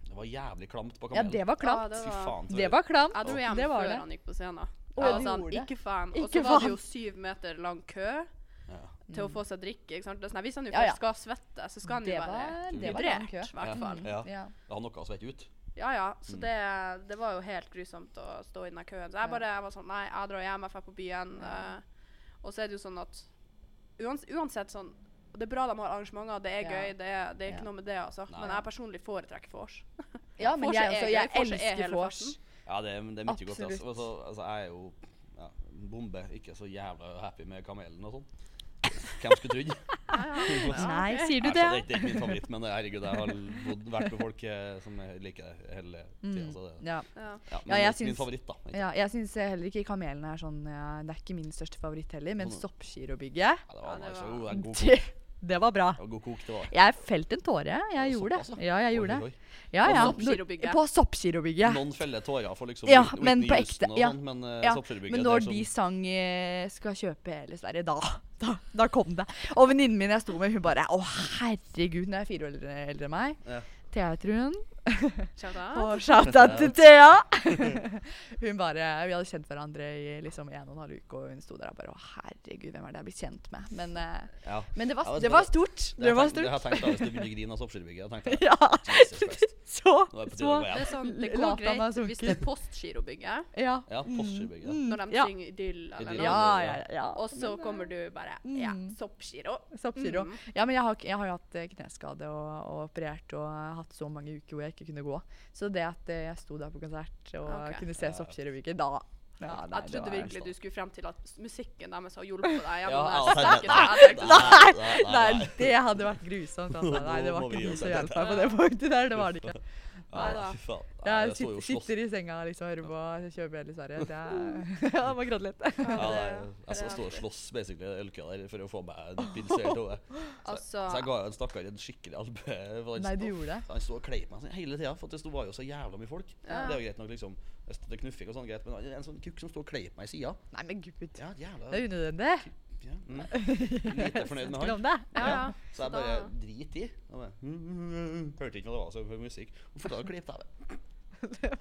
[SPEAKER 3] Det var jævlig klamt på
[SPEAKER 2] Ja,
[SPEAKER 3] kamelen.
[SPEAKER 2] det var klamt.
[SPEAKER 1] Ja, det
[SPEAKER 3] Fy
[SPEAKER 1] var-
[SPEAKER 3] faen. så
[SPEAKER 2] Det var klamt.
[SPEAKER 1] Jeg dro hjem
[SPEAKER 2] Det var
[SPEAKER 1] før
[SPEAKER 2] det.
[SPEAKER 1] han gikk på scenen.
[SPEAKER 2] Å,
[SPEAKER 1] Jeg var
[SPEAKER 2] du
[SPEAKER 1] sånn,
[SPEAKER 2] gjorde det.
[SPEAKER 1] ikke fan. Og så var
[SPEAKER 2] Ikke
[SPEAKER 1] det
[SPEAKER 2] fan. Mm.
[SPEAKER 1] jo syv meter lang kø
[SPEAKER 3] Ja.
[SPEAKER 1] til å få seg drikke. Ikke sant? Det er sånn, hvis han jo
[SPEAKER 2] Ja, ja.
[SPEAKER 1] først skal svette, så skal han
[SPEAKER 2] Det
[SPEAKER 1] jo være
[SPEAKER 2] var- det var lang
[SPEAKER 1] hydrert,
[SPEAKER 2] kø.
[SPEAKER 1] i hvert fall.
[SPEAKER 3] Ja. Mm.
[SPEAKER 2] Ja.
[SPEAKER 3] Det har noe å svette ut.
[SPEAKER 1] Ja, ja. Så det, det var jo helt grusomt å stå i den der køen. Så jeg bare jeg var sånn Nei, jeg drar hjem, jeg drar på byen. eh, og så er det jo sånn at uans, Uansett sånn og Det er bra de har arrangementer, det er
[SPEAKER 2] Ja.
[SPEAKER 1] gøy, det er, det er
[SPEAKER 2] Ja.
[SPEAKER 1] ikke noe med det, altså.
[SPEAKER 3] Nei.
[SPEAKER 1] Men jeg personlig foretrekker vors.
[SPEAKER 2] Ja, men
[SPEAKER 1] Vors
[SPEAKER 2] jeg,
[SPEAKER 1] er
[SPEAKER 2] også,
[SPEAKER 1] gøy.
[SPEAKER 2] jeg
[SPEAKER 1] Vors er E
[SPEAKER 2] elsker
[SPEAKER 1] hele
[SPEAKER 2] vors.
[SPEAKER 1] farten.
[SPEAKER 3] Ja, det, er- det er mye godt. Altså.
[SPEAKER 2] Absolutt.
[SPEAKER 3] Altså, altså, jeg er jo ja, en bombe. Ikke så jævla happy med kamelen og sånn. Hvem skulle trodd?
[SPEAKER 2] Nei, sier du
[SPEAKER 3] Nei,
[SPEAKER 2] det?
[SPEAKER 3] så Det er ikke min favoritt, men herregud, jeg har bodd, vært med folk eh, som jeg liker det hele tida. Så det,
[SPEAKER 2] Ja.
[SPEAKER 1] Ja.
[SPEAKER 3] ja, men
[SPEAKER 2] Mm. Ja, jeg
[SPEAKER 3] det er ikke
[SPEAKER 2] syns-
[SPEAKER 3] min favoritt, da. Ikke?
[SPEAKER 2] ja jeg syns heller ikke kamelen er sånn ja, Det er ikke min største favoritt heller, men
[SPEAKER 3] Sånn.
[SPEAKER 2] soppgirobygget
[SPEAKER 3] Ja, det
[SPEAKER 1] Ja,
[SPEAKER 3] var,
[SPEAKER 1] det
[SPEAKER 3] nice.
[SPEAKER 1] var-
[SPEAKER 3] Jo, det er god kok.
[SPEAKER 2] det, det var bra.
[SPEAKER 3] Det var god kok, det var.
[SPEAKER 2] Jeg felte en tåre. Jeg
[SPEAKER 3] det
[SPEAKER 2] gjorde
[SPEAKER 3] såpass,
[SPEAKER 2] det.
[SPEAKER 3] da?
[SPEAKER 2] Ja, jeg gjorde
[SPEAKER 3] Oi,
[SPEAKER 2] det.
[SPEAKER 3] oi.
[SPEAKER 2] Ja, ja.
[SPEAKER 1] På soppgirobygget.
[SPEAKER 2] På soppgirobygget.
[SPEAKER 3] Noen feller tårer for liksom
[SPEAKER 2] Ja,
[SPEAKER 3] Whitney
[SPEAKER 2] men på
[SPEAKER 3] Houston
[SPEAKER 2] ekte,
[SPEAKER 3] og
[SPEAKER 2] ja.
[SPEAKER 3] sånn, men, eh,
[SPEAKER 2] Ja,
[SPEAKER 3] soppgirobygget,
[SPEAKER 2] men
[SPEAKER 3] det er
[SPEAKER 2] når
[SPEAKER 3] sånn-
[SPEAKER 2] de sang eh, 'Skal kjøpe hele Sverige', da, da, da kom det. Og venninnen min jeg sto med, hun bare 'Å, herregud', hun er fire år eldre eldre enn meg.
[SPEAKER 3] Ja.
[SPEAKER 2] Thea heter hun.
[SPEAKER 1] Shout out.
[SPEAKER 2] Og shout-out til Thea! Ah. hun bare, Vi hadde kjent hverandre i liksom en og en halv uke, og hun sto der og bare Å, herregud, hvem er det jeg blir kjent med? Men, eh,
[SPEAKER 3] Ja.
[SPEAKER 2] men det, var,
[SPEAKER 3] Ja, men
[SPEAKER 2] det
[SPEAKER 3] det-
[SPEAKER 2] var stort.
[SPEAKER 3] Det
[SPEAKER 2] Det
[SPEAKER 3] har
[SPEAKER 2] var
[SPEAKER 3] jeg tenkt- det har jeg
[SPEAKER 2] stort.
[SPEAKER 3] tenkt da hvis du begynner å grine av soppskyribygget. Jeg tenkte,
[SPEAKER 2] Ja.
[SPEAKER 3] Jesus Christ.
[SPEAKER 2] Så,
[SPEAKER 3] Nå er det på tide
[SPEAKER 2] så
[SPEAKER 3] å gå
[SPEAKER 1] Det, er
[SPEAKER 3] hjem.
[SPEAKER 1] sånn, det
[SPEAKER 2] Latan
[SPEAKER 1] går
[SPEAKER 2] har
[SPEAKER 1] greit
[SPEAKER 2] sunket.
[SPEAKER 1] hvis det er postgirobygget,
[SPEAKER 2] Ja.
[SPEAKER 3] Ja, Postgirobygget.
[SPEAKER 2] Mm,
[SPEAKER 1] når de
[SPEAKER 2] ja.
[SPEAKER 1] synger idyll eller
[SPEAKER 3] Idyll.
[SPEAKER 1] noe.
[SPEAKER 2] Ja, ja, ja.
[SPEAKER 1] Og så kommer du bare Ja,
[SPEAKER 2] Mm.
[SPEAKER 1] soppgiro.
[SPEAKER 2] Soppgiro.
[SPEAKER 1] Mm.
[SPEAKER 2] Ja, men jeg har, jeg har jo hatt eh, kneskade og, og operert og hatt så mange uker hvor jeg ikke kunne gå. Så det at eh, jeg sto der på konsert og
[SPEAKER 1] Ah, Ok.
[SPEAKER 2] kunne se
[SPEAKER 3] Ja.
[SPEAKER 2] soppkirurgiker da ja, nei,
[SPEAKER 1] Jeg
[SPEAKER 2] det
[SPEAKER 1] trodde
[SPEAKER 2] var-
[SPEAKER 1] virkelig du skulle frem til at s- musikken deres har hjulpet deg.
[SPEAKER 3] Ja,
[SPEAKER 1] gjennom
[SPEAKER 3] jeg
[SPEAKER 1] det
[SPEAKER 3] har tenkt
[SPEAKER 1] stykket,
[SPEAKER 3] det.
[SPEAKER 1] så jeg tenkte,
[SPEAKER 2] Nei,
[SPEAKER 3] Nei, nei,
[SPEAKER 2] Nei,
[SPEAKER 3] nei.
[SPEAKER 2] det hadde vært grusomt. Altså. Nei, det var
[SPEAKER 3] Nå må vi
[SPEAKER 2] ikke
[SPEAKER 3] gi
[SPEAKER 2] noe
[SPEAKER 3] oss
[SPEAKER 2] som
[SPEAKER 3] her,
[SPEAKER 2] hjalp meg på det punktet der. Det var det ikke.
[SPEAKER 1] Nei da.
[SPEAKER 3] Ja, fy faen. Nei,
[SPEAKER 2] Jeg
[SPEAKER 3] det så jo
[SPEAKER 2] sitter,
[SPEAKER 3] slåss.
[SPEAKER 2] sitter i senga liksom, og hører på kjørebjell i Sverige. Det er, jeg må gråte litt.
[SPEAKER 1] Ja,
[SPEAKER 3] Ja,
[SPEAKER 1] det-
[SPEAKER 3] nei, jeg så
[SPEAKER 1] det-
[SPEAKER 3] stå og slåss basically i ølkøa der for å få meg en pils i hodet.
[SPEAKER 1] Altså,
[SPEAKER 3] Så jeg ga jo en stakkar en skikkelig albue. for han
[SPEAKER 2] Nei, du
[SPEAKER 3] sto-
[SPEAKER 2] gjorde det.
[SPEAKER 3] Han sto og kleip meg sånn hele tida, for at det sto- var jo så jævla mye folk.
[SPEAKER 1] Ja.
[SPEAKER 3] Det er jo greit nok, liksom. Hvis Det er knuffing og sånn, greit, men det er en sånn kukk som står og kleiper meg i sida.
[SPEAKER 2] Nei, men gud.
[SPEAKER 3] Ja, jævla
[SPEAKER 2] Det er unødvendig.
[SPEAKER 3] ja, mm. Lite fornøyd med
[SPEAKER 2] Snakker
[SPEAKER 3] han.
[SPEAKER 2] om det.
[SPEAKER 1] ja, ja.
[SPEAKER 3] Så jeg
[SPEAKER 1] da-
[SPEAKER 3] bare drit i. Og bare, mm, hørte ikke hva det var så for musikk. Hvorfor da klipp deg?
[SPEAKER 1] men det-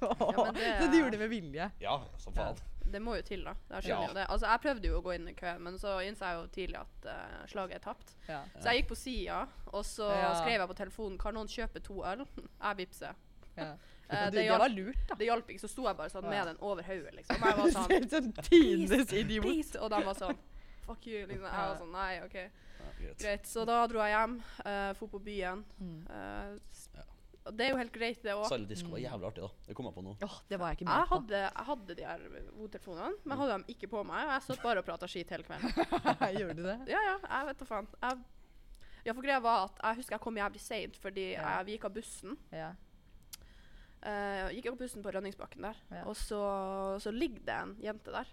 [SPEAKER 2] Så du gjorde det med vilje.
[SPEAKER 3] Ja, som faen.
[SPEAKER 1] Det må jo til, da. Jeg skjønner
[SPEAKER 3] Ja.
[SPEAKER 1] jo det. Altså, jeg prøvde jo å gå inn i køen, men så innså jeg jo tidlig at eh, slaget er tapt.
[SPEAKER 2] Ja.
[SPEAKER 1] Så jeg gikk på sida, og så
[SPEAKER 2] Ja.
[SPEAKER 1] skrev jeg på telefonen Kan noen kjøpe to øl? Jeg vippser.
[SPEAKER 2] Ja.
[SPEAKER 1] Eh,
[SPEAKER 2] Du,
[SPEAKER 1] det,
[SPEAKER 2] det var
[SPEAKER 1] hjalp,
[SPEAKER 2] lurt, da.
[SPEAKER 1] det hjalp ikke, så sto jeg bare sånn
[SPEAKER 2] Ja.
[SPEAKER 1] med den over hodet, liksom. Jeg var sånn
[SPEAKER 2] Selv som tidenes
[SPEAKER 1] «Please,
[SPEAKER 2] idiot.
[SPEAKER 1] please», Og de var sånn Fuck you. Liksom. Jeg var
[SPEAKER 2] Ja.
[SPEAKER 1] sånn Nei, OK.
[SPEAKER 3] Ja, greit.
[SPEAKER 1] Greit. Så da dro jeg hjem, uh, dro på byen.
[SPEAKER 2] Mm.
[SPEAKER 1] eh, s- og det er jo helt greit, det òg.
[SPEAKER 3] Silent Disco var jævlig artig, da. Det kom jeg på nå.
[SPEAKER 2] Åh, det var jeg ikke
[SPEAKER 1] Jeg
[SPEAKER 2] med på.
[SPEAKER 1] hadde, jeg hadde de her hodetelefonene, men jeg hadde dem ikke på meg. Og jeg satt bare og prata skit hele kvelden.
[SPEAKER 2] Gjorde du det?
[SPEAKER 1] Ja, ja, jeg vet da faen. Jeg, ja, for greia var at jeg husker jeg kom jævlig seint fordi
[SPEAKER 2] Ja.
[SPEAKER 1] jeg, vi gikk av bussen.
[SPEAKER 2] Ja.
[SPEAKER 1] Eh, gikk av bussen på Rønningsbakken der,
[SPEAKER 2] Ja.
[SPEAKER 1] og så, så ligger det en jente der.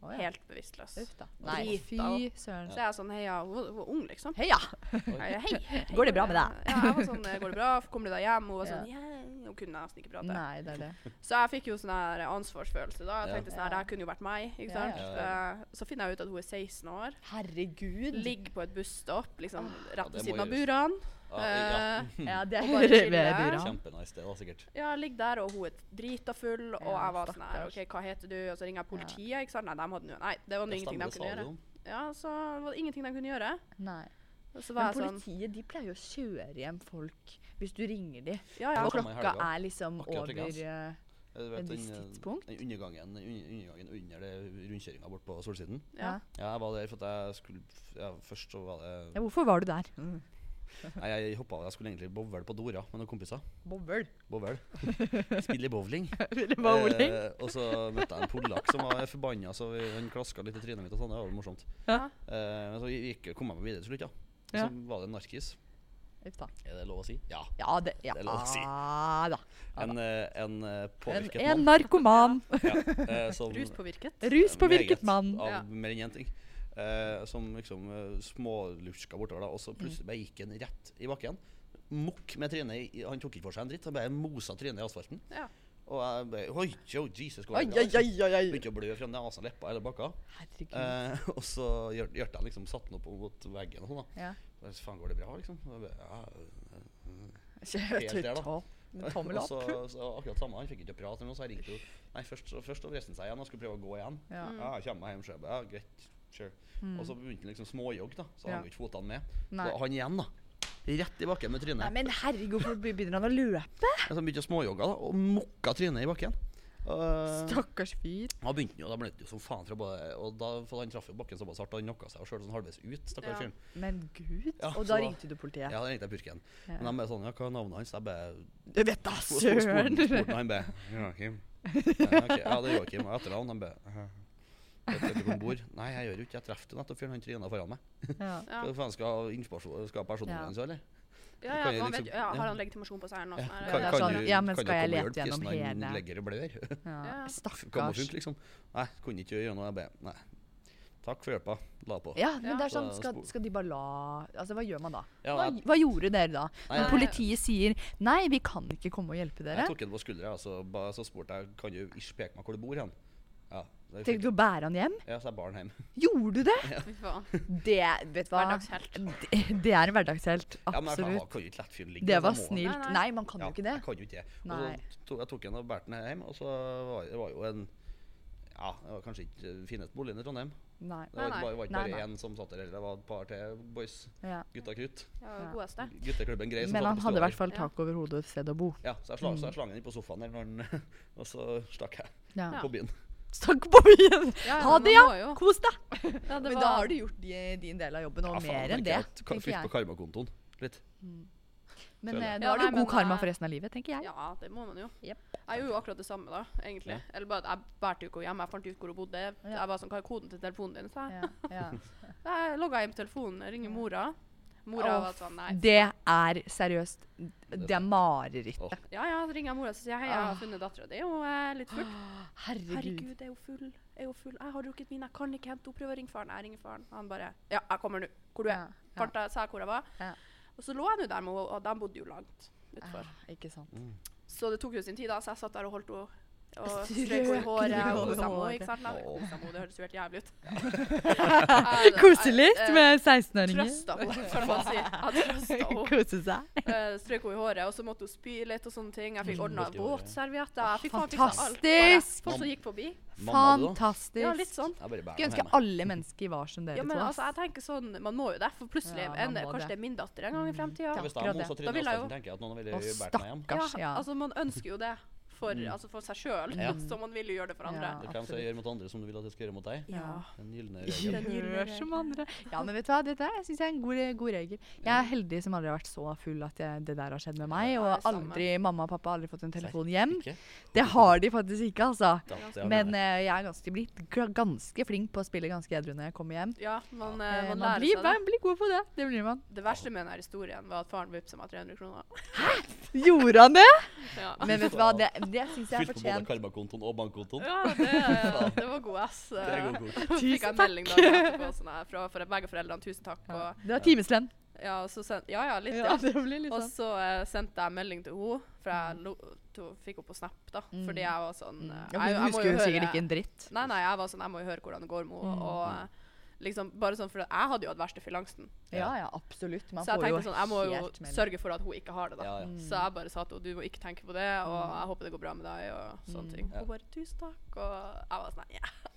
[SPEAKER 2] Å, ja.
[SPEAKER 1] Helt bevisstløs.
[SPEAKER 2] Uff da.
[SPEAKER 1] Nei,
[SPEAKER 2] Nei,
[SPEAKER 1] fy
[SPEAKER 2] fy søren.
[SPEAKER 1] Så jeg er sånn heia, hun hun var ung, liksom.
[SPEAKER 2] Heia!
[SPEAKER 1] Hei, hei, hei,
[SPEAKER 2] Går det bra med deg?
[SPEAKER 1] Ja, jeg var sånn eh, Går det bra? Kommer du deg hjem? Hun var
[SPEAKER 2] Ja.
[SPEAKER 1] sånn «Ja», Hun kunne nesten ikke prate.
[SPEAKER 2] Nei, det er det.
[SPEAKER 1] Så jeg fikk jo sånn her ansvarsfølelse da. Jeg
[SPEAKER 3] Ja.
[SPEAKER 1] tenkte sånn her,
[SPEAKER 2] Ja.
[SPEAKER 1] det her kunne jo vært meg, ikke
[SPEAKER 2] Ja, ja.
[SPEAKER 1] sant. Eh, Så finner jeg ut at hun er 16 år.
[SPEAKER 2] Herregud.
[SPEAKER 1] Ligger på et busstopp, liksom
[SPEAKER 2] Ah.
[SPEAKER 3] Ja,
[SPEAKER 1] rett ved
[SPEAKER 3] det
[SPEAKER 1] siden
[SPEAKER 3] må ah,
[SPEAKER 1] av
[SPEAKER 3] gjøres.
[SPEAKER 1] burene.
[SPEAKER 3] Ja, ja.
[SPEAKER 1] Eh,
[SPEAKER 2] Ja, det
[SPEAKER 1] Og
[SPEAKER 2] er
[SPEAKER 1] bare chille.
[SPEAKER 2] dyra.
[SPEAKER 3] Kjempenice sted, da, sikkert.
[SPEAKER 1] Ja, jeg ligger der, og hun er drita full, og
[SPEAKER 2] Ja,
[SPEAKER 1] jeg var sånn her,
[SPEAKER 2] stakkars.
[SPEAKER 1] OK, hva heter du? Og så ringer jeg politiet, ikke sant. Nei, de hadde noe Nei, det var
[SPEAKER 3] Det
[SPEAKER 1] noe ingenting de kunne
[SPEAKER 3] stemmer, det sa
[SPEAKER 1] gjøre.
[SPEAKER 3] du om.
[SPEAKER 1] Ja, så var det ingenting de kunne gjøre.
[SPEAKER 2] Nei.
[SPEAKER 1] Og så
[SPEAKER 2] Men
[SPEAKER 1] var jeg sånn
[SPEAKER 2] politiet de pleier jo å kjøre hjem folk hvis du ringer dem.
[SPEAKER 1] Ja, ja.
[SPEAKER 2] Og
[SPEAKER 3] Samme i
[SPEAKER 2] klokka
[SPEAKER 3] helga.
[SPEAKER 2] er liksom
[SPEAKER 3] Akkurat
[SPEAKER 2] over
[SPEAKER 3] like ens.
[SPEAKER 2] eh,
[SPEAKER 3] Eh, Du vet,
[SPEAKER 2] Et visst
[SPEAKER 3] den, eh,
[SPEAKER 2] tidspunkt?
[SPEAKER 3] Den undergangen, un- undergangen under det rundkjøringa bort på Solsiden.
[SPEAKER 1] ja.
[SPEAKER 2] Ja.
[SPEAKER 3] Ja, jeg var der for at jeg skulle ja, Først så var
[SPEAKER 2] ja,
[SPEAKER 3] det
[SPEAKER 2] hvorfor var du der?
[SPEAKER 3] Nei, jeg hoppa av. Jeg skulle egentlig bowle på Dora med noen kompiser.
[SPEAKER 2] Bobbel.
[SPEAKER 3] Bowle. Spille bowling.
[SPEAKER 2] Ville bowling.
[SPEAKER 3] Eh, og så møtte jeg en polakk som var forbanna, så vi, han klaska litt i trynet mitt. og sånn, Det var jo morsomt.
[SPEAKER 2] Ja.
[SPEAKER 3] Eh, men så gikk, kom jeg meg videre til slutt, ja. Og
[SPEAKER 2] Ja.
[SPEAKER 3] Så var det en narkis.
[SPEAKER 2] Uff da.
[SPEAKER 3] Er det lov å si? Ja.
[SPEAKER 2] Ja, det Ja Ah,
[SPEAKER 3] Det er lov å si.
[SPEAKER 2] da. Ja
[SPEAKER 3] En, eh, en eh,
[SPEAKER 2] En,
[SPEAKER 3] påvirket
[SPEAKER 2] en
[SPEAKER 3] mann.
[SPEAKER 2] narkoman.
[SPEAKER 3] eh, som-
[SPEAKER 1] Ruspåvirket.
[SPEAKER 2] Ruspåvirket
[SPEAKER 3] Meget,
[SPEAKER 2] mann.
[SPEAKER 3] Av
[SPEAKER 1] Ja.
[SPEAKER 3] mer enn én ting. Eh, som liksom eh, småluska bortover, da. Og så plutselig bare gikk han rett i bakken. Mokk med trynet. i- Han tok ikke for seg en dritt. Han bare mosa trynet i asfalten.
[SPEAKER 1] Ja.
[SPEAKER 3] Og jeg bare Oi, jo, Jesus
[SPEAKER 2] Oi, oi, oi, oi, oi.
[SPEAKER 3] Begynte å blø fra nesen, leppa, hele bakka.
[SPEAKER 2] Herregud.
[SPEAKER 3] Eh, og så gjør- gjorde jeg liksom satte den opp mot veggen og sånn, da.
[SPEAKER 2] Ja.
[SPEAKER 3] Og så, faen, går det bra, liksom? Og jeg bare, ja, øh, øh,
[SPEAKER 2] Helt
[SPEAKER 3] der, da.
[SPEAKER 2] Med tommel
[SPEAKER 3] og
[SPEAKER 2] opp.
[SPEAKER 3] så, så akkurat samme, han fikk ikke prate eller noe, så jeg ringte jo Nei, først, så, først så reiste han seg igjen og skulle prøve å gå igjen.
[SPEAKER 2] Ja. Mm.
[SPEAKER 3] Ja, jeg kommer meg hjem sjøl. Ja, greit. Sure. Og så begynte han liksom småjogg, da. Så
[SPEAKER 2] Ja.
[SPEAKER 3] hang jo ikke fotene med.
[SPEAKER 2] Nei.
[SPEAKER 3] Så han igjen, da. Rett i bakken med
[SPEAKER 2] Nei,
[SPEAKER 3] trynet.
[SPEAKER 2] men herregud, hvorfor be- begynner han å løpe?
[SPEAKER 3] Så han begynte å småjogge da, og mokka trynet i bakken. Og
[SPEAKER 2] Stakkars fyr.
[SPEAKER 3] da begynte han jo, da ble det jo som faen fra både Og da, for han traff jo bakken såpass hardt, og han knocka seg sjøl sånn halvveis ut,
[SPEAKER 1] Ja.
[SPEAKER 3] stakkars fyren.
[SPEAKER 2] Men gud.
[SPEAKER 3] Ja,
[SPEAKER 2] Og
[SPEAKER 3] så
[SPEAKER 2] da
[SPEAKER 3] da-
[SPEAKER 2] ringte du
[SPEAKER 3] Ja,
[SPEAKER 2] politiet.
[SPEAKER 3] da ringte jeg purken.
[SPEAKER 2] Ja.
[SPEAKER 3] Men de bare sånn Ja, hva er navnet hans? Jeg bare
[SPEAKER 2] Jeg vet da
[SPEAKER 3] Og så spurte
[SPEAKER 2] søren!
[SPEAKER 3] han- spurte han bare Joakim. Ja, ok. ja, det er Joakim. Og etternavn. Han bare «Hæ? Vet vet du hvor han bor? Nei, jeg gjør jo ikke Jeg traff jo nettopp fyren. Han tryna foran meg.
[SPEAKER 2] Ja.
[SPEAKER 1] Ja.
[SPEAKER 3] Hva faen skal informasjon Skal personen
[SPEAKER 2] Ja.
[SPEAKER 3] hans òg, eller?
[SPEAKER 1] Ja,
[SPEAKER 3] Kan
[SPEAKER 1] ja,
[SPEAKER 3] jo
[SPEAKER 1] man vet,
[SPEAKER 3] liksom-
[SPEAKER 1] ja, har
[SPEAKER 3] ja.
[SPEAKER 1] han legitimasjon på seg eller noe sånt? her?
[SPEAKER 2] det
[SPEAKER 3] Kan,
[SPEAKER 1] Ja,
[SPEAKER 2] er
[SPEAKER 3] kan
[SPEAKER 2] sånn,
[SPEAKER 3] du-
[SPEAKER 2] ja, men
[SPEAKER 3] kan
[SPEAKER 2] skal jeg
[SPEAKER 3] du komme og
[SPEAKER 2] lete
[SPEAKER 3] hjelpe hvis
[SPEAKER 2] gjennom
[SPEAKER 3] han
[SPEAKER 2] hele-
[SPEAKER 3] legger og blør?
[SPEAKER 2] Ja.
[SPEAKER 1] Ja.
[SPEAKER 3] Kom og
[SPEAKER 2] Stakkars.
[SPEAKER 3] funke, liksom. Nei, kunne ikke gjøre noe. Jeg bare Nei. Takk for hjelpa. La på.
[SPEAKER 2] Ja, men
[SPEAKER 1] Ja.
[SPEAKER 2] det er sånn,
[SPEAKER 3] Så
[SPEAKER 2] skal,
[SPEAKER 3] spor-
[SPEAKER 2] skal de bare la Altså, hva gjør man da?
[SPEAKER 3] Ja,
[SPEAKER 2] Hva,
[SPEAKER 3] jeg-
[SPEAKER 2] hva gjorde dere da?
[SPEAKER 3] Nei,
[SPEAKER 1] jeg-
[SPEAKER 2] Når politiet sier 'nei, vi kan ikke komme og hjelpe
[SPEAKER 3] Jeg
[SPEAKER 2] dere'?
[SPEAKER 3] tok den på skuldra, og så, ba- så spurte jeg Kan du ish peke meg hvor du bor hen. Ja. Da
[SPEAKER 2] Tenkte
[SPEAKER 3] jeg fikk,
[SPEAKER 2] du å bære han hjem?
[SPEAKER 3] ja, så er barn hjemme.
[SPEAKER 2] Gjorde du det?
[SPEAKER 1] Fy faen.
[SPEAKER 2] Det, vet du hva?
[SPEAKER 1] Hverdagshelt.
[SPEAKER 2] Det, det er en hverdagshelt.
[SPEAKER 3] Ja, men jeg kan- jeg
[SPEAKER 2] Absolutt.
[SPEAKER 3] kan jo ikke lett fyren ligge.
[SPEAKER 2] Det
[SPEAKER 3] da
[SPEAKER 2] var
[SPEAKER 3] må jeg-
[SPEAKER 2] snilt.
[SPEAKER 1] Nei, nei.
[SPEAKER 2] Nei, man kan jo ikke det.
[SPEAKER 3] Jeg kan jo ikke det. Og
[SPEAKER 2] Nei.
[SPEAKER 3] så to, jeg tok en og bærte den hjem, og så var det var jo en Ja, det var kanskje ikke finest boligen i Trondheim.
[SPEAKER 2] Nei.
[SPEAKER 3] Det var,
[SPEAKER 1] Nei,
[SPEAKER 3] ikke bare- var ikke
[SPEAKER 2] nei. Nei, nei.
[SPEAKER 3] bare én som satt der, heller. det var et par til boys.
[SPEAKER 2] Ja.
[SPEAKER 3] Gutta krutt.
[SPEAKER 1] Det var
[SPEAKER 2] Ja.
[SPEAKER 1] det godeste.
[SPEAKER 3] Gutteklubben Grei. som
[SPEAKER 2] Men
[SPEAKER 3] satt
[SPEAKER 2] han
[SPEAKER 3] på
[SPEAKER 2] hadde Mm. i
[SPEAKER 3] stua
[SPEAKER 2] hvert fall
[SPEAKER 1] Ja.
[SPEAKER 2] tak over hodet og et sted å bo.
[SPEAKER 3] der. Ja, så jeg, sla, så jeg slang den inn på sofaen der, når den, og så stakk jeg
[SPEAKER 2] Ja.
[SPEAKER 1] Ja.
[SPEAKER 3] på byen.
[SPEAKER 2] Stakk på byen!
[SPEAKER 1] Ja,
[SPEAKER 2] Ha
[SPEAKER 1] men
[SPEAKER 2] det,
[SPEAKER 1] man
[SPEAKER 2] ja!
[SPEAKER 1] må jo.
[SPEAKER 2] Kos deg!
[SPEAKER 1] Ja, det
[SPEAKER 2] Men da
[SPEAKER 1] var-
[SPEAKER 2] har du gjort di- din del av jobben, og
[SPEAKER 3] Ja, faen,
[SPEAKER 2] mer enn
[SPEAKER 3] tenker
[SPEAKER 2] det.
[SPEAKER 3] jeg at- ka-
[SPEAKER 2] tenker
[SPEAKER 3] Fikk på
[SPEAKER 2] jeg.
[SPEAKER 3] karmakontoen litt.
[SPEAKER 2] Men
[SPEAKER 3] føler
[SPEAKER 2] eh,
[SPEAKER 3] jeg.
[SPEAKER 2] nå
[SPEAKER 1] Ja,
[SPEAKER 2] har du
[SPEAKER 1] nei, men
[SPEAKER 2] god karma
[SPEAKER 1] jeg-
[SPEAKER 2] for resten av livet, tenker jeg.
[SPEAKER 1] Ja, det må man jo.
[SPEAKER 2] Jep.
[SPEAKER 1] Jeg gjorde jo akkurat det samme, da, egentlig.
[SPEAKER 3] Ja.
[SPEAKER 1] Eller bare at jeg bærte jo ikke henne hjem. Jeg fant ut hvor hun bodde.
[SPEAKER 2] Ja.
[SPEAKER 1] Jeg var sånn, Hva er koden til telefonen din? sa jeg.
[SPEAKER 2] Ja, ja.
[SPEAKER 1] Jeg logga inn på telefonen, jeg ringer mora. Mora
[SPEAKER 2] Å,
[SPEAKER 1] var sånn Nei.
[SPEAKER 2] Det er seriøst Det er mareritt.
[SPEAKER 3] Åh,
[SPEAKER 1] Ja, ja, så ringer jeg mora og sier jeg, hei, jeg har
[SPEAKER 2] Ah.
[SPEAKER 1] funnet dattera di. Hun er litt full.
[SPEAKER 2] Herregud.
[SPEAKER 1] Herregud, er hun full? Er hun full? Jeg har drukket min, jeg kan ikke hente henne. Prøv å ringe faren. Jeg ringer faren. Han bare Ja, jeg kommer nå. Hvor du er?
[SPEAKER 2] Ja, ja.
[SPEAKER 1] Farta, sa jeg hvor jeg var.
[SPEAKER 2] Ja.
[SPEAKER 1] Og så lå jeg nå der med henne, og de bodde jo langt
[SPEAKER 2] Ah,
[SPEAKER 1] utfor.
[SPEAKER 2] ikke sant.
[SPEAKER 1] Så det tok jo sin tid, da, så jeg satt der og holdt henne. Og
[SPEAKER 2] Strøk
[SPEAKER 1] strøk henne i håret og
[SPEAKER 2] over
[SPEAKER 1] kosa med henne.
[SPEAKER 2] håret.
[SPEAKER 1] ikke sant? Nei,
[SPEAKER 3] Åh.
[SPEAKER 1] kosa med henne, Det høres jo helt jævlig ut.
[SPEAKER 2] Kose litt med
[SPEAKER 1] Trøsta
[SPEAKER 2] 16-åringer.
[SPEAKER 1] eh, henne, kan man si. Jeg trøsta henne.
[SPEAKER 2] Kose seg.
[SPEAKER 1] Eh, strøk henne i håret, og så måtte hun spy litt og sånne ting. Jeg fikk ordna
[SPEAKER 3] Borti håret.
[SPEAKER 1] våtservietter. Jeg fikk faen fiksa alt. bare.
[SPEAKER 2] Fantastisk!
[SPEAKER 1] Folk som gikk forbi.
[SPEAKER 3] Mamma, du da?
[SPEAKER 2] Fantastisk.
[SPEAKER 1] Ja, litt sånn.
[SPEAKER 3] Jeg bare bærer
[SPEAKER 2] Skulle
[SPEAKER 3] den
[SPEAKER 2] ønske
[SPEAKER 3] hjemme.
[SPEAKER 2] alle mennesker var som dere
[SPEAKER 1] Ja, men
[SPEAKER 2] to.
[SPEAKER 1] altså, jeg tenker sånn, Man må jo det, for plutselig
[SPEAKER 2] Ja, man
[SPEAKER 1] ender
[SPEAKER 2] må
[SPEAKER 1] kanskje
[SPEAKER 2] det. Mm.
[SPEAKER 1] det er min datter en gang i fremtida.
[SPEAKER 2] Ja.
[SPEAKER 1] Ja.
[SPEAKER 3] Hvis jeg
[SPEAKER 2] akkurat
[SPEAKER 3] har
[SPEAKER 2] det.
[SPEAKER 3] Mons og
[SPEAKER 1] Da
[SPEAKER 3] Trine
[SPEAKER 1] vil jeg jo-
[SPEAKER 3] Astafsen, tenker jeg at noen
[SPEAKER 2] Å,
[SPEAKER 3] ville bært meg hjem.
[SPEAKER 2] stakkars. Ja,
[SPEAKER 1] altså Man ønsker jo det for, altså, for seg sjøl,
[SPEAKER 3] Ja.
[SPEAKER 1] så man vil jo gjøre det for andre.
[SPEAKER 2] Ja.
[SPEAKER 3] Det er hvem som
[SPEAKER 2] absolutt.
[SPEAKER 3] gjør mot andre som du vil at jeg skal gjøre mot deg.
[SPEAKER 1] Ja.
[SPEAKER 3] Den gylne regel.
[SPEAKER 1] Den gylne
[SPEAKER 2] Gjør
[SPEAKER 1] regel.
[SPEAKER 2] som andre. Ja, men vet du hva, dette er- jeg synes jeg er en god, god regel. Jeg er heldig som aldri har vært så full at jeg, det der har skjedd med meg.
[SPEAKER 1] Ja,
[SPEAKER 2] Og
[SPEAKER 1] det er samme.
[SPEAKER 2] aldri, mamma og pappa har aldri fått en telefon hjem.
[SPEAKER 3] Ikke?
[SPEAKER 2] Det har de faktisk ikke, altså.
[SPEAKER 3] Da, det har
[SPEAKER 2] Men
[SPEAKER 3] jeg.
[SPEAKER 2] eh, jeg er ganske, blitt gl- ganske flink på å spille ganske edru når jeg kommer hjem.
[SPEAKER 1] Ja, man, eh,
[SPEAKER 2] Eh,
[SPEAKER 1] man
[SPEAKER 2] Man
[SPEAKER 1] lærer
[SPEAKER 2] blir,
[SPEAKER 1] seg det.
[SPEAKER 2] man blir god på det. Det blir man.
[SPEAKER 1] Det verste med denne historien var at faren vippsa meg 300 kroner.
[SPEAKER 2] Gjorde han det?
[SPEAKER 1] Ja,
[SPEAKER 2] Men vet du hva, det, det syns jeg er
[SPEAKER 3] Fylt på både
[SPEAKER 2] fortjent.
[SPEAKER 3] karmakontoen og bankkontoen.
[SPEAKER 1] ja det, det var god ass.
[SPEAKER 3] Det er god kort.
[SPEAKER 1] Så fikk jeg
[SPEAKER 2] Tusen
[SPEAKER 1] en melding dagen etterpå sånn her, fra for begge foreldrene. 'Tusen takk.'
[SPEAKER 2] Ja.
[SPEAKER 1] Og,
[SPEAKER 2] Det var timeslønn.
[SPEAKER 1] ja, og så send, ja, ja, litt,
[SPEAKER 2] Ja,
[SPEAKER 1] ja.
[SPEAKER 2] det blir litt
[SPEAKER 1] Og
[SPEAKER 2] sånn.
[SPEAKER 1] så eh, sendte jeg melding til henne, for jeg lo, to, fikk henne på Snap, da.
[SPEAKER 2] Mm.
[SPEAKER 1] Fordi jeg var sånn eh,
[SPEAKER 2] Ja,
[SPEAKER 1] jeg,
[SPEAKER 2] Hun
[SPEAKER 1] jeg må
[SPEAKER 2] husker jo sikkert
[SPEAKER 1] høre-
[SPEAKER 2] ikke en Mm. dritt.
[SPEAKER 1] Nei, nei, jeg var sånn Jeg må jo høre hvordan det går med henne. Og eh, liksom Bare sånn For jeg hadde jo hatt verste fyllangsten.
[SPEAKER 2] Ja, ja, absolutt. Man
[SPEAKER 1] Så jeg
[SPEAKER 2] får jo
[SPEAKER 1] tenkte sånn Jeg må jo
[SPEAKER 2] helt melding.
[SPEAKER 1] sørge for at hun ikke har det, da.
[SPEAKER 3] Ja, ja.
[SPEAKER 1] Så jeg bare sa til henne du må ikke tenke på det, og jeg håper det går bra med deg, Mm. og sånne ting.
[SPEAKER 3] Ja.
[SPEAKER 1] Hun bare tusen takk, og jeg var sånn ja,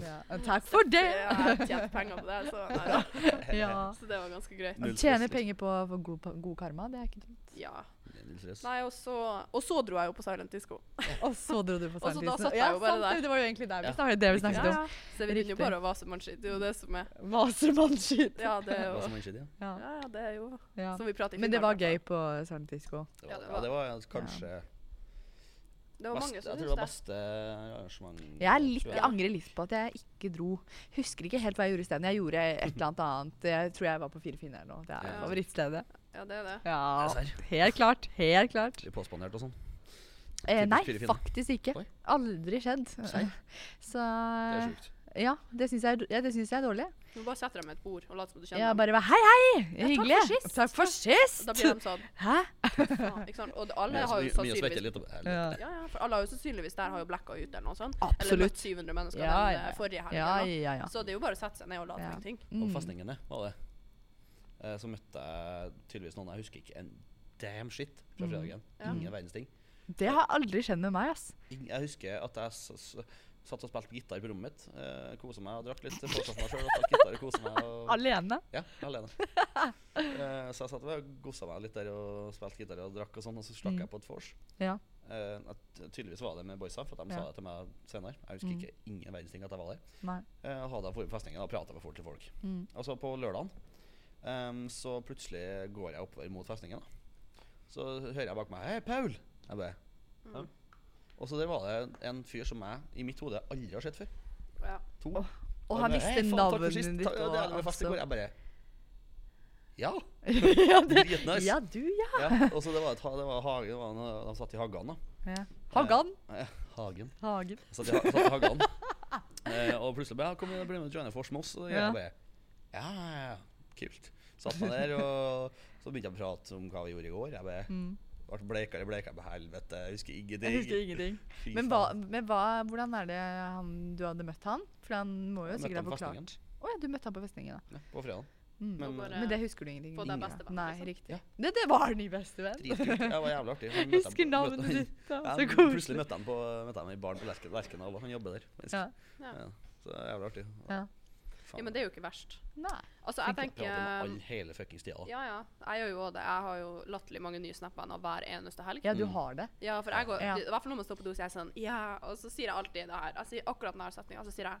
[SPEAKER 2] Ja, takk for
[SPEAKER 1] jeg
[SPEAKER 2] det!
[SPEAKER 1] har tjent penger på det, så nei da.
[SPEAKER 2] Ja.
[SPEAKER 1] Så det var ganske greit.
[SPEAKER 3] Null liksom.
[SPEAKER 2] Tjener
[SPEAKER 3] stress.
[SPEAKER 2] penger på å få god, pa- god karma, det er ikke dumt.
[SPEAKER 1] Ja.
[SPEAKER 3] Det er null stress.
[SPEAKER 1] Nei, og så Og så dro jeg jo på Silent Disco.
[SPEAKER 2] Og så dro du på
[SPEAKER 1] Og så da
[SPEAKER 2] Sandisen.
[SPEAKER 1] satt jeg jo bare der.
[SPEAKER 2] Det var jo egentlig der vi
[SPEAKER 3] Ja.
[SPEAKER 2] snakket, det vi
[SPEAKER 1] Ja,
[SPEAKER 2] snakket
[SPEAKER 1] ja. Så vi begynner
[SPEAKER 2] Riktig.
[SPEAKER 1] jo bare å vase mansj. Det er jo det som er
[SPEAKER 2] om. Vasermannskit.
[SPEAKER 1] Ja, det er
[SPEAKER 3] Det
[SPEAKER 1] jo
[SPEAKER 3] var som en skit, ja.
[SPEAKER 2] Ja.
[SPEAKER 1] Ja, ja, det er jo
[SPEAKER 2] Ja.
[SPEAKER 1] Som vi prater i
[SPEAKER 2] Men det var
[SPEAKER 1] Finnmark, i
[SPEAKER 2] gøy
[SPEAKER 1] hvert
[SPEAKER 2] på Silent Disco.
[SPEAKER 3] Det
[SPEAKER 1] Ja,
[SPEAKER 3] var,
[SPEAKER 1] det
[SPEAKER 3] ja,
[SPEAKER 1] var-
[SPEAKER 3] det var kanskje
[SPEAKER 1] fall. Det var
[SPEAKER 3] best-
[SPEAKER 1] mange
[SPEAKER 3] Jeg
[SPEAKER 1] som
[SPEAKER 3] tror det var
[SPEAKER 1] syntes det.
[SPEAKER 3] beste arrangement.
[SPEAKER 2] Jeg, er litt,
[SPEAKER 3] tror
[SPEAKER 2] jeg angrer litt på at jeg ikke dro. Husker ikke helt hva jeg gjorde isteden. Jeg gjorde et eller annet annet. Jeg tror jeg var på Fire finner eller noe. Det er
[SPEAKER 3] Ja.
[SPEAKER 2] favorittstedet.
[SPEAKER 1] Ja, det er det.
[SPEAKER 2] Ja,
[SPEAKER 3] Serr?
[SPEAKER 2] helt klart. Helt klart.
[SPEAKER 3] Litt påspandert og sånn.
[SPEAKER 2] Eh, nei,
[SPEAKER 3] Fire Finner.
[SPEAKER 2] faktisk ikke.
[SPEAKER 3] Oi.
[SPEAKER 2] Aldri skjedd. Så
[SPEAKER 3] Det er sjukt.
[SPEAKER 2] ja, det syns jeg, er d- ja, det syns jeg er dårlig.
[SPEAKER 1] Nå bare setter jeg med et bord og later som du kjenner
[SPEAKER 2] Ja,
[SPEAKER 1] dem.
[SPEAKER 2] bare vær hei, hei!
[SPEAKER 1] Ja, takk
[SPEAKER 2] Hyggelig.
[SPEAKER 1] for sist.
[SPEAKER 2] Takk for sist!
[SPEAKER 1] Da blir de sånn
[SPEAKER 2] Hæ?
[SPEAKER 1] faen, ikke sant? Og alle
[SPEAKER 3] Mye-
[SPEAKER 1] har jo
[SPEAKER 3] mye- mye å svette
[SPEAKER 1] sannsynligvis
[SPEAKER 3] litt opp- eller-
[SPEAKER 2] Ja.
[SPEAKER 1] ja, ja, for alle har jo sannsynligvis der har jo blacka ut eller noe sånt. Eller
[SPEAKER 2] Absolutt.
[SPEAKER 1] møtt 700 mennesker den
[SPEAKER 2] Ja, ja,
[SPEAKER 1] eh,
[SPEAKER 2] ja.
[SPEAKER 1] forrige helgen.
[SPEAKER 2] Ja,
[SPEAKER 1] da.
[SPEAKER 2] ja, ja.
[SPEAKER 1] Så det er jo bare å sette seg ned og late
[SPEAKER 2] Ja.
[SPEAKER 1] som ingenting.
[SPEAKER 3] Og
[SPEAKER 2] Mm.
[SPEAKER 3] festningene var det. Eh, Så møtte jeg tydeligvis noen Jeg husker ikke en damn shit fra
[SPEAKER 2] Mm.
[SPEAKER 3] fredagen.
[SPEAKER 1] Ja.
[SPEAKER 3] Ingen verdens ting.
[SPEAKER 2] Det har aldri skjedd med meg, ass.
[SPEAKER 3] Ing- Jeg husker at jeg s s satt og spilte gitar på rommet mitt. Eh, kosa meg og drakk litt. Fortsatte meg sjøl og spilte gitar og kosa meg. Og
[SPEAKER 2] Alene.
[SPEAKER 3] Ja, alene. Eh, så jeg satt og gossa meg litt der og spilte gitar og drakk og sånn, og så stakk
[SPEAKER 2] Mm.
[SPEAKER 3] jeg på et vors.
[SPEAKER 2] Ja.
[SPEAKER 3] Eh, at- tydeligvis var det med boysa, for at de
[SPEAKER 2] Ja. Mm.
[SPEAKER 3] sa det til meg senere. Jeg husker ikke ingen verdens ting at jeg var der.
[SPEAKER 2] Nei.
[SPEAKER 3] Eh, hadde jeg vært på festningen og prata med folk til folk.
[SPEAKER 2] Mm.
[SPEAKER 3] Og så på lørdagen ehm, så plutselig går jeg oppover mot festningen. Da. Så hører jeg bak meg 'Hei, Paul!' Jeg bare, ja. Og så der var det en fyr som jeg i mitt hode aldri har sett før.
[SPEAKER 1] Ja.
[SPEAKER 3] To.
[SPEAKER 2] Og han
[SPEAKER 3] bare, «Hei,
[SPEAKER 2] visste
[SPEAKER 3] faen, takk for
[SPEAKER 2] navnet
[SPEAKER 3] sist.
[SPEAKER 2] ditt.
[SPEAKER 3] Ta- ja,
[SPEAKER 2] og
[SPEAKER 3] det er det med fest i
[SPEAKER 2] alt
[SPEAKER 3] går. Jeg bare Ja!
[SPEAKER 2] sånt. ja, det-
[SPEAKER 3] Dritnice.
[SPEAKER 2] ja, du, ja.
[SPEAKER 3] ja. Og så det var et ha, det var hage, det var en, de satt i hagen, da.
[SPEAKER 2] ja. Hagan.
[SPEAKER 3] Eh, Hagen.
[SPEAKER 2] Hagen.
[SPEAKER 3] Satt i, ha- satt i hagen. Eh, og plutselig bare ja, 'Kom igjen, bli med og joine Fors med oss.' Og
[SPEAKER 2] Ja.
[SPEAKER 3] jeg bare Ja, ja, ja. Kult. Satt meg der, og så begynte jeg å prate om hva vi gjorde i går. Jeg bare
[SPEAKER 2] Mm.
[SPEAKER 3] Ble bleikere og bleikere på helvete. Jeg husker ingenting.
[SPEAKER 2] Jeg husker ingenting.
[SPEAKER 3] Fy
[SPEAKER 2] Men, hva,
[SPEAKER 3] faen.
[SPEAKER 2] men hva, hvordan er det han, du hadde møtt han? For han må jo
[SPEAKER 3] Jeg møtte
[SPEAKER 2] sikkert ha
[SPEAKER 3] han på
[SPEAKER 2] forklart.
[SPEAKER 3] festningen.
[SPEAKER 2] Å ja, du møtte han på festningen, da.
[SPEAKER 3] Ja, på fredag.
[SPEAKER 2] Mm.
[SPEAKER 3] Men-
[SPEAKER 2] Men,
[SPEAKER 1] Og bare
[SPEAKER 2] det husker du ingenting
[SPEAKER 1] få deg
[SPEAKER 2] ingenting av.
[SPEAKER 1] bestevenn,
[SPEAKER 2] Nei,
[SPEAKER 1] liksom.
[SPEAKER 2] riktig.
[SPEAKER 3] Ja.
[SPEAKER 2] Det, det var ny bestevenn.
[SPEAKER 3] Dritkult. Ja, Det var jævlig artig. Han møtte
[SPEAKER 2] Husker
[SPEAKER 3] han-
[SPEAKER 2] navnet
[SPEAKER 3] møtte-
[SPEAKER 2] ditt. da.
[SPEAKER 3] Ja,
[SPEAKER 2] Så
[SPEAKER 3] men Plutselig
[SPEAKER 2] koselig.
[SPEAKER 3] møtte han på møtte han i baren på Lerken- Lerkendal, og han jobber der. faktisk.
[SPEAKER 2] Ja.
[SPEAKER 1] Ja.
[SPEAKER 3] Ja, så det er jævlig artig.
[SPEAKER 2] Ja.
[SPEAKER 3] Faen,
[SPEAKER 1] ja, men det er jo ikke verst.
[SPEAKER 2] Nei.
[SPEAKER 1] Altså, jeg
[SPEAKER 3] jeg prater
[SPEAKER 1] tenker
[SPEAKER 3] om alle hele fuckings tida.
[SPEAKER 1] Ja, ja. Jeg gjør jo også det. Jeg har jo latterlig mange nye snapper nå hver eneste helg.
[SPEAKER 2] Ja, du
[SPEAKER 3] Mm.
[SPEAKER 2] har det.
[SPEAKER 1] Ja, for jeg går,
[SPEAKER 2] Ja.
[SPEAKER 1] I hvert fall når man står på do, så er jeg sånn Ja, og så sier jeg alltid det her. Jeg sier akkurat denne setninga, så sier jeg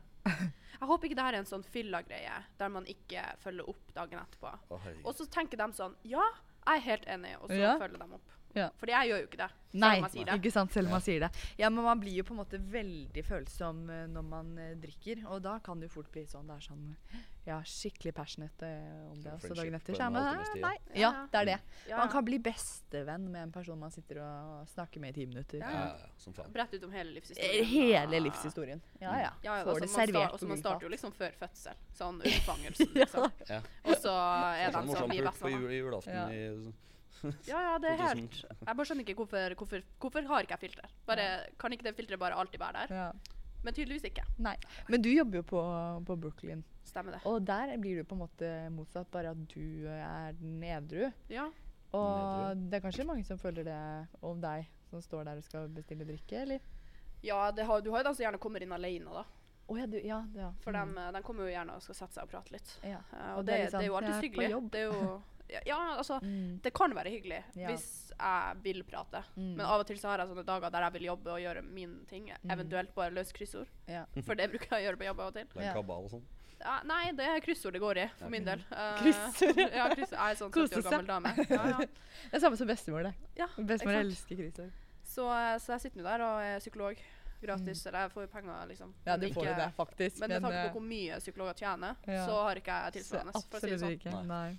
[SPEAKER 1] Jeg håper ikke det her er en sånn fylla-greie der man ikke følger opp dagen etterpå.
[SPEAKER 3] Å, herregud.
[SPEAKER 1] Og så tenker de sånn Ja, jeg er helt enig, og så
[SPEAKER 2] Ja.
[SPEAKER 1] følger de opp.
[SPEAKER 2] Ja.
[SPEAKER 1] Fordi jeg gjør jo ikke det. selv
[SPEAKER 2] Nei,
[SPEAKER 1] om jeg sier det.
[SPEAKER 2] ikke sant, selv om man sier det. Ja, men man blir jo på en måte veldig følsom eh, når man eh, drikker, og da kan det jo fort bli sånn, det er sånn, ja, skikkelig passionate eh, om det, og så dagen
[SPEAKER 3] friendship
[SPEAKER 2] etter
[SPEAKER 3] på
[SPEAKER 2] så er
[SPEAKER 3] en
[SPEAKER 2] man,
[SPEAKER 3] halvtimes tid,
[SPEAKER 2] eh, nei,
[SPEAKER 1] ja.
[SPEAKER 2] ja, det er det.
[SPEAKER 1] Ja,
[SPEAKER 2] Man
[SPEAKER 1] ja.
[SPEAKER 2] kan bli bestevenn med en person man sitter og snakker med i ti minutter.
[SPEAKER 1] Ja,
[SPEAKER 3] ja, ja, ja, som faen.
[SPEAKER 1] Brett ut om hele livshistorien.
[SPEAKER 2] Eh, Hele livshistorien. Ja, ja.
[SPEAKER 1] Ja, ja,
[SPEAKER 2] Får
[SPEAKER 1] altså,
[SPEAKER 2] det
[SPEAKER 1] man, start,
[SPEAKER 2] servert
[SPEAKER 1] altså,
[SPEAKER 2] på
[SPEAKER 1] man starter
[SPEAKER 2] gullfat.
[SPEAKER 1] jo liksom før fødsel, sånn under fangelsen. Liksom.
[SPEAKER 3] Ja.
[SPEAKER 1] Og så er de
[SPEAKER 3] Sånn
[SPEAKER 1] sånn
[SPEAKER 3] morsom
[SPEAKER 1] vi er
[SPEAKER 3] pult på
[SPEAKER 1] bestevenner.
[SPEAKER 3] jul, julaften
[SPEAKER 2] Ja.
[SPEAKER 3] i
[SPEAKER 1] Ja, ja, det er
[SPEAKER 3] 2000.
[SPEAKER 1] helt Jeg bare skjønner ikke hvorfor, hvorfor, hvorfor har ikke jeg filter. Bare, Kan ikke det filteret bare alltid være der?
[SPEAKER 2] Ja.
[SPEAKER 1] Men tydeligvis ikke.
[SPEAKER 2] Nei. Men du jobber jo på, på Brooklyn,
[SPEAKER 1] Stemmer det.
[SPEAKER 2] og der blir du på en måte motsatt, bare at du eh, er den edru.
[SPEAKER 1] Ja,
[SPEAKER 2] Og det er kanskje mange som føler det om deg, som står der og skal bestille drikke, eller?
[SPEAKER 1] ja det har, du har jo de som gjerne kommer inn alene, da.
[SPEAKER 2] Å ja, du, ja, det, ja.
[SPEAKER 1] For
[SPEAKER 2] Mm.
[SPEAKER 1] dem, eh, de kommer jo gjerne og skal sette seg og prate litt.
[SPEAKER 2] Ja.
[SPEAKER 1] Eh,
[SPEAKER 2] Og
[SPEAKER 1] og
[SPEAKER 2] det
[SPEAKER 1] det,
[SPEAKER 2] er
[SPEAKER 1] det,
[SPEAKER 2] liksom,
[SPEAKER 1] er jo alltid
[SPEAKER 2] jeg er på
[SPEAKER 1] hyggelig.
[SPEAKER 2] jobb.
[SPEAKER 1] Det er jo ja, Ja, altså.
[SPEAKER 2] Mm.
[SPEAKER 1] Det kan være hyggelig
[SPEAKER 2] Ja.
[SPEAKER 1] hvis jeg vil prate,
[SPEAKER 2] Mm.
[SPEAKER 1] men av og til så har jeg sånne dager der jeg vil jobbe og gjøre mine ting. Eventuelt bare løse kryssord,
[SPEAKER 2] Ja.
[SPEAKER 1] for det bruker jeg å gjøre på jobb av og til.
[SPEAKER 3] lang
[SPEAKER 2] Ja.
[SPEAKER 3] kabal og sånn.
[SPEAKER 1] Ja, nei, det er kryssord det går i, for min del. Eh,
[SPEAKER 2] Kryssord.
[SPEAKER 1] ja, kryssord. Jeg er sånn 70 år
[SPEAKER 2] Kose seg.
[SPEAKER 1] gammel dame. Ja, ja.
[SPEAKER 2] Det er samme som bestemor, det.
[SPEAKER 1] Ja,
[SPEAKER 2] Bestemor
[SPEAKER 1] ikke sant?
[SPEAKER 2] elsker kriser.
[SPEAKER 1] Så, eh, så jeg sitter nå der og er psykolog gratis. Eller jeg får jo penger, liksom.
[SPEAKER 2] Mm. Ja,
[SPEAKER 1] men
[SPEAKER 2] du får jo
[SPEAKER 1] ikke-
[SPEAKER 2] det, faktisk.
[SPEAKER 1] Men med tanke
[SPEAKER 2] eh,
[SPEAKER 1] på hvor mye psykologer tjener,
[SPEAKER 2] Ja.
[SPEAKER 1] så har ikke jeg
[SPEAKER 2] så
[SPEAKER 1] tilsvarende. For å si det
[SPEAKER 2] Absolutt
[SPEAKER 1] sånn.
[SPEAKER 2] ikke.
[SPEAKER 3] Nei.
[SPEAKER 2] Nei.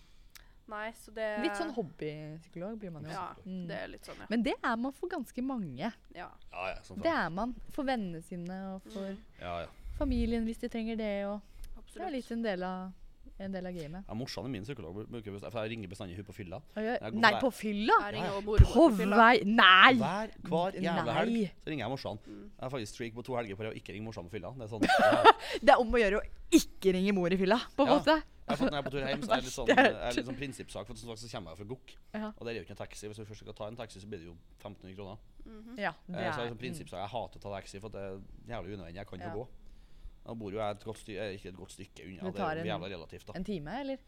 [SPEAKER 1] Nei, så det
[SPEAKER 2] Litt sånn hobbypsykolog blir man jo.
[SPEAKER 1] Ja,
[SPEAKER 2] Mm.
[SPEAKER 1] det er litt sånn, ja.
[SPEAKER 2] Men det er man for ganske mange.
[SPEAKER 1] ja.
[SPEAKER 3] Ja, ja, som
[SPEAKER 2] Det
[SPEAKER 3] faen.
[SPEAKER 2] er man for vennene sine og for
[SPEAKER 3] Ja, ja.
[SPEAKER 2] familien hvis de trenger det. Og det er
[SPEAKER 1] Mm. Absolutt.
[SPEAKER 2] litt en del av, en del av gamet.
[SPEAKER 3] Ja, Morsan er min psykolog, bruker, best- for jeg ringer bestandig hun på fylla.
[SPEAKER 2] Og jeg-
[SPEAKER 3] Jeg går på
[SPEAKER 2] Nei,
[SPEAKER 3] vei.
[SPEAKER 2] på fylla?
[SPEAKER 1] Jeg ringer og morer
[SPEAKER 2] På
[SPEAKER 1] bort til fylla.
[SPEAKER 2] vei Nei!
[SPEAKER 3] Hver hver jævla helg
[SPEAKER 2] Nei.
[SPEAKER 3] så ringer jeg morsan.
[SPEAKER 1] Mm.
[SPEAKER 3] Jeg har faktisk streak på to helger på å ikke ringe morsan på fylla. Det er sånn,
[SPEAKER 2] Det er om å gjøre å ikke ringe mor i fylla, på en
[SPEAKER 3] Ja.
[SPEAKER 2] måte.
[SPEAKER 3] Jeg har fått når jeg er på tur hjem, så er det litt
[SPEAKER 2] Verst
[SPEAKER 3] sånn,
[SPEAKER 2] jeg har
[SPEAKER 3] jeg er litt sånn prinsippsak. For som sagt så kommer jeg fra Gokk,
[SPEAKER 2] Ja.
[SPEAKER 3] og der er jo ikke noen taxi. Hvis du først skal ta en taxi, så blir det jo 1500 kroner.
[SPEAKER 1] Mhm.
[SPEAKER 2] Ja,
[SPEAKER 3] Eh,
[SPEAKER 2] det
[SPEAKER 3] så er det
[SPEAKER 2] er
[SPEAKER 3] sånn prinsippsak. Jeg hater å ta taxi, for det er jævlig unødvendig. Jeg kan jo
[SPEAKER 2] Ja.
[SPEAKER 3] gå. Da bor jo jeg et godt stykke, jeg er ikke et godt stykke
[SPEAKER 2] Du
[SPEAKER 3] unna. Det
[SPEAKER 2] tar
[SPEAKER 3] er
[SPEAKER 2] en-
[SPEAKER 3] jo jævla relativt, da.
[SPEAKER 2] en time, eller?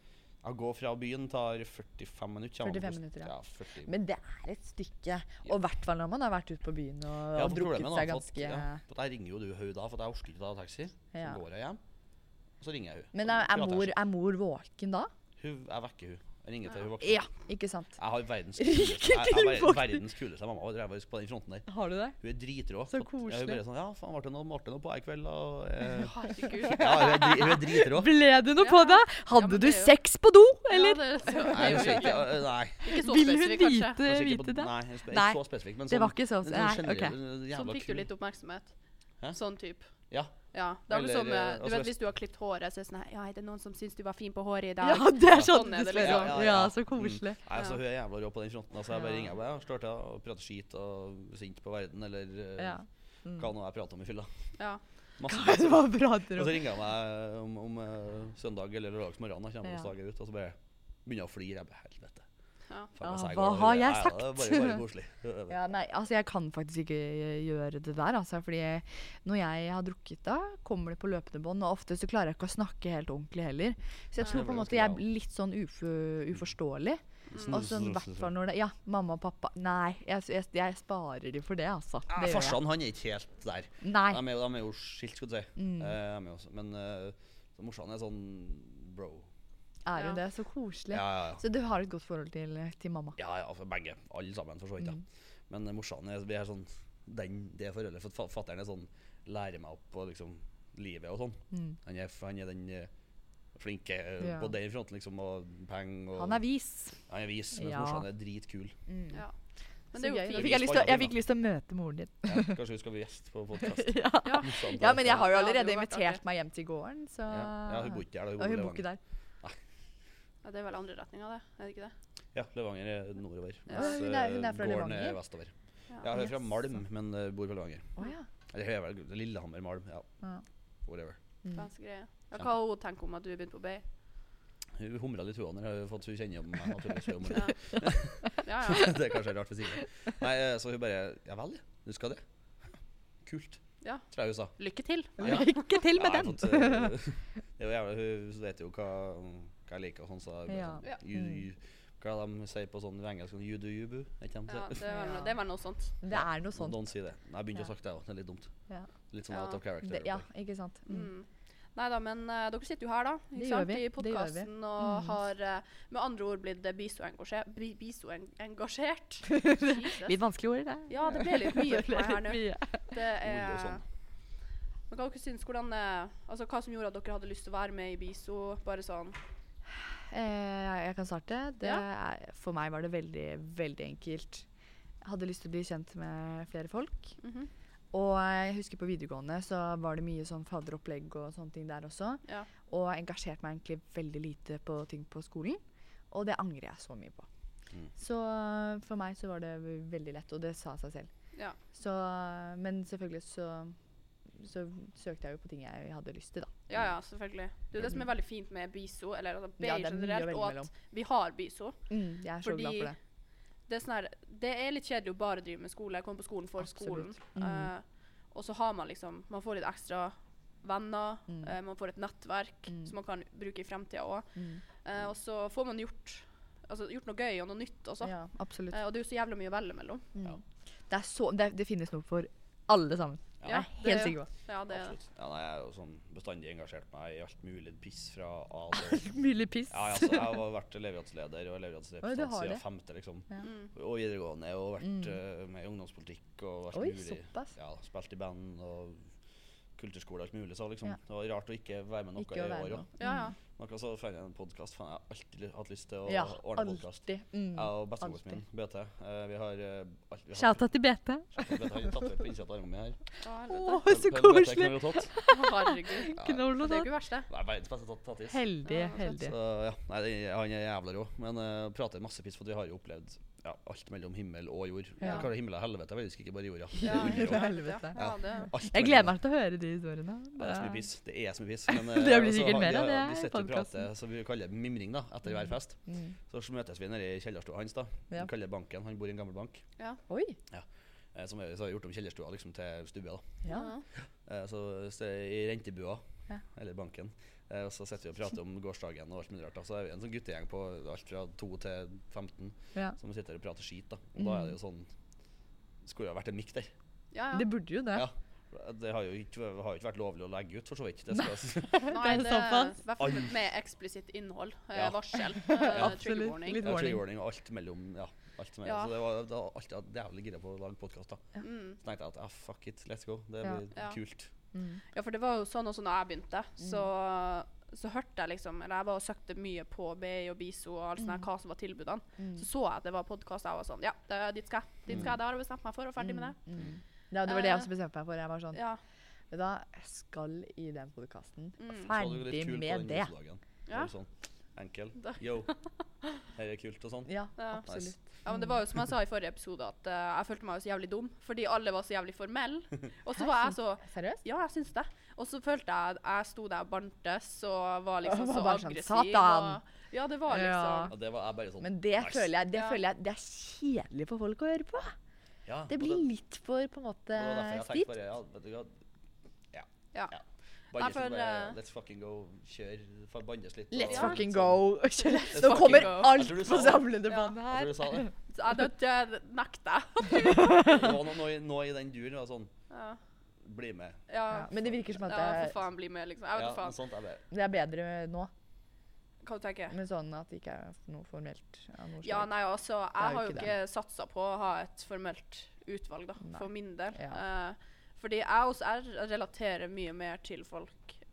[SPEAKER 3] Jeg går fra byen, tar 45 minutter. kommer
[SPEAKER 2] 45
[SPEAKER 3] på-
[SPEAKER 2] minutter, ja.
[SPEAKER 3] ja. 40.
[SPEAKER 2] Men det er et stykke. Og i hvert fall når man har vært ute på byen og,
[SPEAKER 3] Ja,
[SPEAKER 2] og
[SPEAKER 3] for
[SPEAKER 2] drukket
[SPEAKER 3] problemet da,
[SPEAKER 2] seg
[SPEAKER 3] for at-
[SPEAKER 2] ganske eh,
[SPEAKER 3] ja, for at Jeg ringer jo du hun da, for at jeg orker ikke å ta taxi. Så
[SPEAKER 2] Ja.
[SPEAKER 3] går jeg hjem, og så ringer jeg hun.
[SPEAKER 2] Men
[SPEAKER 3] Og
[SPEAKER 2] er, er,
[SPEAKER 3] prater jeg
[SPEAKER 2] mor,
[SPEAKER 3] ikke.
[SPEAKER 2] er mor våken da?
[SPEAKER 3] Hun- Jeg vekker hun. Jeg ringer til hun våkner.
[SPEAKER 2] Ja, ikke sant?
[SPEAKER 3] Jeg har verdens
[SPEAKER 2] Ringer
[SPEAKER 3] kuleste, jeg, jeg,
[SPEAKER 2] til
[SPEAKER 3] har ver-
[SPEAKER 2] våkner.
[SPEAKER 3] verdens kuleste mamma. og Jeg var på den fronten der.
[SPEAKER 2] Har du det?
[SPEAKER 3] Hun er dritrå.
[SPEAKER 2] Så
[SPEAKER 3] Fått- Ja, hun
[SPEAKER 2] koselig.
[SPEAKER 3] bare sånn Ja, faen, ble det noe, ble det noe på i kveld? Og, eh,
[SPEAKER 1] Herregud.
[SPEAKER 3] ja, hun er, dri, hun er dritrå.
[SPEAKER 2] Ble du noe
[SPEAKER 1] Ja.
[SPEAKER 2] på deg?
[SPEAKER 1] Ja,
[SPEAKER 2] Hadde
[SPEAKER 1] men
[SPEAKER 2] du
[SPEAKER 1] det er jo-
[SPEAKER 2] sex på do, eller?
[SPEAKER 1] Ja, det, så,
[SPEAKER 3] Nei,
[SPEAKER 1] det
[SPEAKER 3] hun
[SPEAKER 1] er
[SPEAKER 3] sier
[SPEAKER 1] jo
[SPEAKER 3] ikke
[SPEAKER 1] ikke,
[SPEAKER 3] øh, Nei.
[SPEAKER 1] ikke så
[SPEAKER 2] Vil hun
[SPEAKER 1] spesifikk, kanskje.
[SPEAKER 2] vite,
[SPEAKER 3] hun sier ikke på-
[SPEAKER 2] vite det?
[SPEAKER 3] Nei, hun spør-
[SPEAKER 2] Nei,
[SPEAKER 3] ikke så spesifikt, men sånn,
[SPEAKER 2] Det var ikke så
[SPEAKER 3] sånn
[SPEAKER 2] Nei,
[SPEAKER 3] generell,
[SPEAKER 2] OK.
[SPEAKER 3] øh,
[SPEAKER 1] Sånn
[SPEAKER 3] jævla
[SPEAKER 1] fikk du
[SPEAKER 3] kul.
[SPEAKER 1] litt oppmerksomhet.
[SPEAKER 3] Hæ?
[SPEAKER 1] Sånn type.
[SPEAKER 3] Ja.
[SPEAKER 1] Ja. Det er
[SPEAKER 3] Eller,
[SPEAKER 1] akkurat som eh,
[SPEAKER 3] eh,
[SPEAKER 1] du
[SPEAKER 3] altså
[SPEAKER 1] vet,
[SPEAKER 3] hvis-
[SPEAKER 1] hvis du har klippet håret, så er det sånn her, Ja, er det noen som syns du var fin på håret i dag?
[SPEAKER 2] Ja, det er
[SPEAKER 1] sånn
[SPEAKER 2] sånn
[SPEAKER 1] er
[SPEAKER 2] du
[SPEAKER 1] det
[SPEAKER 2] spør
[SPEAKER 1] liksom.
[SPEAKER 2] om. Ja, så koselig.
[SPEAKER 3] Nei, altså,
[SPEAKER 1] Ja.
[SPEAKER 3] hun er jævla rå på den fronten. Altså, jeg bare
[SPEAKER 2] Ja.
[SPEAKER 3] ringer jeg bare, ja, slår til og prater skit og er sint på verden, eller øh,
[SPEAKER 2] Ja.
[SPEAKER 3] hva nå jeg prater om i fylla.
[SPEAKER 1] Ja.
[SPEAKER 3] Masse
[SPEAKER 2] Hva er det man prater
[SPEAKER 3] Og
[SPEAKER 2] om?
[SPEAKER 3] så ringer jeg meg om, om eh, søndag eller lørdagsmorgen. da, kommer
[SPEAKER 2] Ja.
[SPEAKER 3] hos dagen ut, Og så bare begynner jeg å flire. Jeg bare helvete.
[SPEAKER 1] Ja.
[SPEAKER 3] Faen,
[SPEAKER 2] Ah,
[SPEAKER 3] sa i
[SPEAKER 2] hva
[SPEAKER 3] går?
[SPEAKER 2] har jeg
[SPEAKER 3] Nei, da, det er Bare, bare koselig.
[SPEAKER 2] Ja, nei, altså jeg kan faktisk ikke gjøre det der, altså, fordi når jeg har drukket da, kommer det på løpende bånd, og ofte så klarer jeg ikke å snakke helt ordentlig heller. Så jeg
[SPEAKER 1] Nei.
[SPEAKER 2] tror på en måte jeg blir litt sånn ufo, uforståelig,
[SPEAKER 3] Mm.
[SPEAKER 2] og sånn i hvert fall når det, ja, mamma og pappa, nei, jeg, jeg, jeg sparer de for det, altså.
[SPEAKER 3] Ja,
[SPEAKER 2] Det gjør jeg.
[SPEAKER 3] Farsan han er ikke helt der.
[SPEAKER 2] Nei,
[SPEAKER 3] De er, jo- de er jo skilt, skulle du si.
[SPEAKER 2] Mm.
[SPEAKER 3] Eh, de er jo også- men eh, så morsan er sånn bro.
[SPEAKER 2] er
[SPEAKER 1] Ja.
[SPEAKER 2] jo det, så koselig.
[SPEAKER 3] Ja, ja, ja.
[SPEAKER 2] Så du har et godt forhold til, til mamma. Mm.
[SPEAKER 3] ja, ja for begge. Alle sammen, for så vidt. Ja. Men eh, morsan er, vi er sånn den, det forholdet. For fa- fatteren er sånn lærer meg opp på liksom, livet og sånn.
[SPEAKER 2] Mm.
[SPEAKER 3] Han, er, han er den eh, flinke eh,
[SPEAKER 2] Ja.
[SPEAKER 3] på den fronten, liksom, og penger og
[SPEAKER 2] Han er vis.
[SPEAKER 3] Han er vis, mens
[SPEAKER 2] Ja.
[SPEAKER 3] morsan er dritkul.
[SPEAKER 2] Mm.
[SPEAKER 1] Ja.
[SPEAKER 2] Så
[SPEAKER 1] Men det er jo
[SPEAKER 2] gøy. Nå
[SPEAKER 1] fint.
[SPEAKER 2] fikk jeg, lyst til å, jeg fikk lyst til å møte moren din.
[SPEAKER 3] Ja, kanskje hun skal bli gjest på podkast.
[SPEAKER 2] Ja.
[SPEAKER 1] Ja.
[SPEAKER 2] ja, men jeg har jo
[SPEAKER 1] Ja, det hadde
[SPEAKER 2] allerede
[SPEAKER 1] jo vært artig.
[SPEAKER 2] invitert meg hjem til gården, så
[SPEAKER 3] ja, ja, hun bor ikke der. da,
[SPEAKER 2] Og hun bor
[SPEAKER 3] i
[SPEAKER 2] ikke
[SPEAKER 3] Levanger.
[SPEAKER 2] der.
[SPEAKER 1] Ja, det er vel andre retninga, det? Er det ikke det?
[SPEAKER 3] Ja, Levanger er nordover.
[SPEAKER 2] Ja,
[SPEAKER 3] mens,
[SPEAKER 2] hun er- hun er
[SPEAKER 3] eh,
[SPEAKER 2] fra
[SPEAKER 3] gården
[SPEAKER 2] Levanger?
[SPEAKER 3] er vestover.
[SPEAKER 1] Ja.
[SPEAKER 3] Ja, hun er fra
[SPEAKER 2] Jaså.
[SPEAKER 3] Malm, men eh, bor ved Levanger.
[SPEAKER 2] Å ja.
[SPEAKER 3] Eller hun er vel Lillehammer, Malm. Ja,
[SPEAKER 2] Ja.
[SPEAKER 3] whatever.
[SPEAKER 2] Mm.
[SPEAKER 1] Ganske greie. Ja, hva har hun tenkt om at du har begynt på BI?
[SPEAKER 3] Hun humra litt, hun òg, når hun fått hun kjenner om meg. naturligvis, hun
[SPEAKER 1] Ja.
[SPEAKER 3] humrer.
[SPEAKER 1] ja, ja.
[SPEAKER 3] det er kanskje rart for Signe. Nei, eh, så hun bare Ja vel, ja. Du skal det? Kult.
[SPEAKER 1] Ja.
[SPEAKER 3] Tror jeg hun sa.
[SPEAKER 1] Lykke til.
[SPEAKER 3] Ja.
[SPEAKER 2] Lykke til med
[SPEAKER 3] Ja, sånn,
[SPEAKER 2] den!
[SPEAKER 3] jeg har fått, eh, det er jo jævlig, hun vet jo hva, hva jeg liker og sånn, så jeg bare
[SPEAKER 2] Ja. Mm.
[SPEAKER 3] sånn,
[SPEAKER 1] Ja.
[SPEAKER 3] you, you, Hva er det de sier på sånn på engelsk? sånn, You do you, boo? Er ikke de
[SPEAKER 1] Ja,
[SPEAKER 3] sier?
[SPEAKER 1] det er vel, no- det er vel noe sånt.
[SPEAKER 2] Det er noe
[SPEAKER 3] Noen
[SPEAKER 2] sånt.
[SPEAKER 3] noen sier det. Nei, jeg begynte å
[SPEAKER 2] Ja.
[SPEAKER 3] sagt det òg. Det er litt dumt.
[SPEAKER 2] Ja.
[SPEAKER 3] Litt sånn
[SPEAKER 1] Ja.
[SPEAKER 3] out of character.
[SPEAKER 2] Det, ja, ikke sant. Mm.
[SPEAKER 1] Mm. Nei da, men eh, dere sitter jo her, da. Ikke
[SPEAKER 2] Det gjør
[SPEAKER 1] sant?
[SPEAKER 2] vi.
[SPEAKER 1] I
[SPEAKER 2] Mm. Det gjør vi.
[SPEAKER 1] podkasten og har eh, med andre ord blitt bisoengasjert. Bisoengasjert.
[SPEAKER 2] Litt vanskelig ord, det.
[SPEAKER 1] Ja, det ble litt mye for meg her nå.
[SPEAKER 2] Mye.
[SPEAKER 1] Det
[SPEAKER 3] Ord og
[SPEAKER 1] er
[SPEAKER 3] sånn.
[SPEAKER 1] Men hva dere syns, hvordan eh, Altså hva som gjorde at dere hadde lyst til å være med i BISO? Bare sånn
[SPEAKER 2] Eh, jeg kan starte. Det er, for meg var det veldig, veldig enkelt. Jeg hadde lyst til å bli kjent med flere folk.
[SPEAKER 1] mhm,
[SPEAKER 2] Og jeg husker på videregående så var det mye sånn fadderopplegg og sånne ting der også.
[SPEAKER 1] Ja.
[SPEAKER 2] Og jeg engasjerte meg egentlig veldig lite på ting på skolen. Og det angrer jeg så mye på.
[SPEAKER 3] Mm.
[SPEAKER 2] Så eh, for meg så var det ve- veldig lett, og det sa seg selv.
[SPEAKER 1] Ja.
[SPEAKER 2] Så, eh, men selvfølgelig så, så søkte jeg jo på ting jeg hadde lyst til, da.
[SPEAKER 1] Ja ja, selvfølgelig. Det er jo det som er veldig fint med BISO, eller altså, BI
[SPEAKER 2] Ja, det er mye å
[SPEAKER 1] generelt,
[SPEAKER 2] velge
[SPEAKER 1] og at
[SPEAKER 2] mellom.
[SPEAKER 1] vi har BISO.
[SPEAKER 2] Jeg er så glad
[SPEAKER 1] Mm. Fordi-
[SPEAKER 2] for det.
[SPEAKER 1] Det er, sånn her, det er litt kjedelig å bare drive med skole, komme på skolen for
[SPEAKER 2] Absolutt. Mhm.
[SPEAKER 1] skolen. Eh, og så har man liksom Man får litt ekstra venner,
[SPEAKER 2] Mm.
[SPEAKER 1] eh, man får et nettverk
[SPEAKER 2] Mm.
[SPEAKER 1] som man kan bruke i fremtida òg.
[SPEAKER 2] Mm.
[SPEAKER 1] Eh, og så får man gjort, altså, gjort noe gøy og noe nytt også.
[SPEAKER 2] Ja, absolutt.
[SPEAKER 1] Eh, og det er jo så jævlig mye å velge mellom.
[SPEAKER 2] Mm.
[SPEAKER 3] Ja.
[SPEAKER 2] Det, er så, det, det finnes noe for alle sammen. jeg er
[SPEAKER 3] Ja,
[SPEAKER 2] helt
[SPEAKER 1] det-
[SPEAKER 2] sikker på.
[SPEAKER 1] Ja, det er det.
[SPEAKER 3] Absolutt. Ja, nei, jeg er jo sånn bestandig engasjert meg i alt mulig piss fra A til Å.
[SPEAKER 2] Mulig piss.
[SPEAKER 3] Ja, ja, så jeg har vært elevrådsleder og
[SPEAKER 2] Oi, du
[SPEAKER 3] elevrådsrepresentant
[SPEAKER 2] har
[SPEAKER 3] siden
[SPEAKER 2] det.
[SPEAKER 3] femte, liksom.
[SPEAKER 2] Ja.
[SPEAKER 1] Mm.
[SPEAKER 3] Og videregående, og vært
[SPEAKER 2] Mm.
[SPEAKER 3] eh, med i ungdomspolitikk og alt
[SPEAKER 2] Oi,
[SPEAKER 3] mulig.
[SPEAKER 2] såpass.
[SPEAKER 3] Ja, spilt i band og kulturskole og alt mulig. Så liksom,
[SPEAKER 2] Ja.
[SPEAKER 3] det var rart å ikke være med noe
[SPEAKER 2] Ikke å
[SPEAKER 3] i
[SPEAKER 2] være
[SPEAKER 3] år
[SPEAKER 2] med.
[SPEAKER 3] òg.
[SPEAKER 1] Ja, ja.
[SPEAKER 3] Noe så fant jeg en podkast. Jeg har alltid hatt lyst til å
[SPEAKER 2] Ja,
[SPEAKER 3] ordne podkast.
[SPEAKER 2] alltid. Mm.
[SPEAKER 3] Jeg og bestemoren min,
[SPEAKER 2] alltid.
[SPEAKER 3] BT, eh, vi har eh, alt, vi har
[SPEAKER 2] Shouta til BT.
[SPEAKER 3] Shoutout BT har tatt over på innsida av armene mine her.
[SPEAKER 2] Mm.
[SPEAKER 1] Å, helvete.
[SPEAKER 2] Å, så
[SPEAKER 3] Pelle- Pelle BT
[SPEAKER 2] koselig!
[SPEAKER 3] kan vi jo tatt.
[SPEAKER 1] Herregud.
[SPEAKER 2] Knoll
[SPEAKER 1] Det
[SPEAKER 2] og
[SPEAKER 1] er jo
[SPEAKER 2] sånn.
[SPEAKER 1] ikke verst, det.
[SPEAKER 3] Det er verdens beste tatt- tattis.
[SPEAKER 2] Heldig,
[SPEAKER 1] Ja, det er
[SPEAKER 2] heldig.
[SPEAKER 3] Så ja, nei, det, Han er jævla rå, men eh, prater masse piss, for vi har jo opplevd ja, alt mellom himmel og jord.
[SPEAKER 2] Ja.
[SPEAKER 3] Jeg kaller det himmel og helvete, jeg husker ikke bare jorda.
[SPEAKER 1] Ja,
[SPEAKER 2] Det blir
[SPEAKER 1] helt rett,
[SPEAKER 2] helvete.
[SPEAKER 1] Ja, ja, det.
[SPEAKER 3] Alt
[SPEAKER 2] Jeg
[SPEAKER 3] mellom.
[SPEAKER 2] gleder meg til å høre de historiene.
[SPEAKER 3] Det er så mye piss. Det er så mye piss. Men,
[SPEAKER 2] Det
[SPEAKER 3] eh,
[SPEAKER 2] blir
[SPEAKER 3] så
[SPEAKER 2] sikkert
[SPEAKER 3] har-
[SPEAKER 2] mer
[SPEAKER 3] de
[SPEAKER 2] av
[SPEAKER 3] har-
[SPEAKER 2] det
[SPEAKER 3] De
[SPEAKER 2] i
[SPEAKER 3] sitter og
[SPEAKER 2] podcasten.
[SPEAKER 3] prater, så vi kaller det mimring, da, etter hver fest.
[SPEAKER 2] Mm.
[SPEAKER 3] Så møtes vi nede i kjellerstua hans, da.
[SPEAKER 2] Ja.
[SPEAKER 3] Vi kaller det banken. Han bor i en gammel bank.
[SPEAKER 2] Oi.
[SPEAKER 3] Eh, som er, så har vi gjort om kjellerstua liksom, til stue, da.
[SPEAKER 2] Ja.
[SPEAKER 1] Ja.
[SPEAKER 3] Eh, så så er det i rentebua,
[SPEAKER 2] Ja.
[SPEAKER 3] eller banken. Eh, og så sitter vi og prater om gårsdagen og alt mulig rart. da. Så er vi en sånn guttegjeng på alt fra 2 til 15
[SPEAKER 2] ja.
[SPEAKER 3] som sitter og prater skit, da. Og da er
[SPEAKER 2] Mm.
[SPEAKER 3] det jo sånn Skulle jo ha vært en mikk der.
[SPEAKER 1] Ja,
[SPEAKER 2] Det
[SPEAKER 1] ja.
[SPEAKER 2] burde jo det.
[SPEAKER 3] Ja. Det har jo ikke, har jo ikke vært lovlig å legge ut, for så vidt. Det skal,
[SPEAKER 1] Nei,
[SPEAKER 2] Det
[SPEAKER 1] det er
[SPEAKER 2] er såpass.
[SPEAKER 1] i hvert fall med- med eksplisitt innhold. eh,
[SPEAKER 3] Ja.
[SPEAKER 1] Varsel. eh, Trigger
[SPEAKER 2] Absolutt.
[SPEAKER 1] warning.
[SPEAKER 2] Litt
[SPEAKER 3] Ja, trigger
[SPEAKER 2] warning.
[SPEAKER 3] warning og alt mellom Ja. Alt som er.
[SPEAKER 1] Ja.
[SPEAKER 3] Så det var, det var alltid jeg var jævlig gira på å lage podkast. Så
[SPEAKER 1] Mm.
[SPEAKER 3] tenkte jeg at ah, fuck it, let's go. Det
[SPEAKER 2] Ja.
[SPEAKER 3] blir
[SPEAKER 1] Ja.
[SPEAKER 3] kult.
[SPEAKER 2] Mm.
[SPEAKER 1] Ja, for det var jo sånn også når jeg begynte, så, så hørte jeg liksom Eller jeg var og søkte mye på BI og BISO og alt sånt, her,
[SPEAKER 2] Mm.
[SPEAKER 1] hva som var tilbudene. Så så jeg at det var podkast, og jeg var sånn Ja, det, dit skal jeg. Dit skal jeg, Det har jeg bestemt meg for, og ferdig med det.
[SPEAKER 2] Mm. Ja, det var det jeg også bestemte meg for. Jeg var sånn
[SPEAKER 1] Ja.
[SPEAKER 2] Vet du hva, jeg skal i den podkasten.
[SPEAKER 1] Mm.
[SPEAKER 3] Så hadde vi
[SPEAKER 2] Ferdig
[SPEAKER 3] litt kult på
[SPEAKER 2] med
[SPEAKER 3] den
[SPEAKER 2] det.
[SPEAKER 3] gåsedagen. Det
[SPEAKER 1] Ja.
[SPEAKER 3] var Sånn, enkel.
[SPEAKER 1] Da-
[SPEAKER 3] Yo, her er kult og sånn.
[SPEAKER 2] Ja,
[SPEAKER 1] Ja.
[SPEAKER 2] absolutt.
[SPEAKER 1] ja, men det var jo som jeg sa i forrige episode, at eh, jeg følte meg jo så jævlig dum, fordi alle var så jævlig formelle. Og så var jeg så
[SPEAKER 2] Seriøst?
[SPEAKER 1] Ja, jeg syns det. Og så følte jeg at jeg sto der og bantes og var liksom
[SPEAKER 2] Og var
[SPEAKER 1] så
[SPEAKER 2] bare sånn,
[SPEAKER 1] aggressiv.
[SPEAKER 2] «Satan!»
[SPEAKER 1] og- Ja, det var liksom
[SPEAKER 3] Ja, det var jeg bare sånn
[SPEAKER 2] Men det,
[SPEAKER 3] nice.
[SPEAKER 2] føler jeg, det
[SPEAKER 1] Ja.
[SPEAKER 2] føler jeg det er kjedelig for folk å høre på.
[SPEAKER 3] Ja,
[SPEAKER 2] Det
[SPEAKER 3] og
[SPEAKER 2] blir
[SPEAKER 3] og
[SPEAKER 2] litt for på en måte
[SPEAKER 3] det var derfor jeg tenkte
[SPEAKER 2] stivt.
[SPEAKER 3] bare Ja, vet du hva. Ja.
[SPEAKER 1] Ja.
[SPEAKER 3] Bandes
[SPEAKER 1] for,
[SPEAKER 3] litt, bare,
[SPEAKER 1] eh,
[SPEAKER 3] let's fucking go. Kjør. fa- Bandes litt.
[SPEAKER 2] Let's
[SPEAKER 1] Ja.
[SPEAKER 2] fucking go. Nå
[SPEAKER 3] fucking
[SPEAKER 2] kommer
[SPEAKER 1] go.
[SPEAKER 3] Jeg
[SPEAKER 2] alt
[SPEAKER 3] tror du
[SPEAKER 2] på
[SPEAKER 3] sa det.
[SPEAKER 2] samlebåndet
[SPEAKER 3] Jeg
[SPEAKER 2] her.
[SPEAKER 3] tror du sa det.
[SPEAKER 1] Så Jeg det- det nekter.
[SPEAKER 3] Det var noe, noe, i- noe i den duren. var Sånn,
[SPEAKER 1] Ja.
[SPEAKER 3] bli med.
[SPEAKER 1] Ja.
[SPEAKER 2] Ja, men det virker som at
[SPEAKER 1] ja,
[SPEAKER 2] det,
[SPEAKER 1] for faen, bli med, liksom. Jeg vet
[SPEAKER 3] Ja,
[SPEAKER 1] da faen.
[SPEAKER 3] noe sånt. Jeg bare
[SPEAKER 2] det er bedre nå,
[SPEAKER 1] Hva du tenker
[SPEAKER 2] men sånn at det ikke er noe formelt av noe
[SPEAKER 1] Ja,
[SPEAKER 2] slag.
[SPEAKER 1] nei, altså,
[SPEAKER 2] er
[SPEAKER 1] jeg
[SPEAKER 2] jo
[SPEAKER 1] har jo
[SPEAKER 2] ikke
[SPEAKER 1] ikke satsa på å ha et formelt utvalg, da,
[SPEAKER 2] Nei.
[SPEAKER 1] for min del.
[SPEAKER 2] Ja.
[SPEAKER 1] Eh, fordi jeg også jeg relaterer mye mer til folk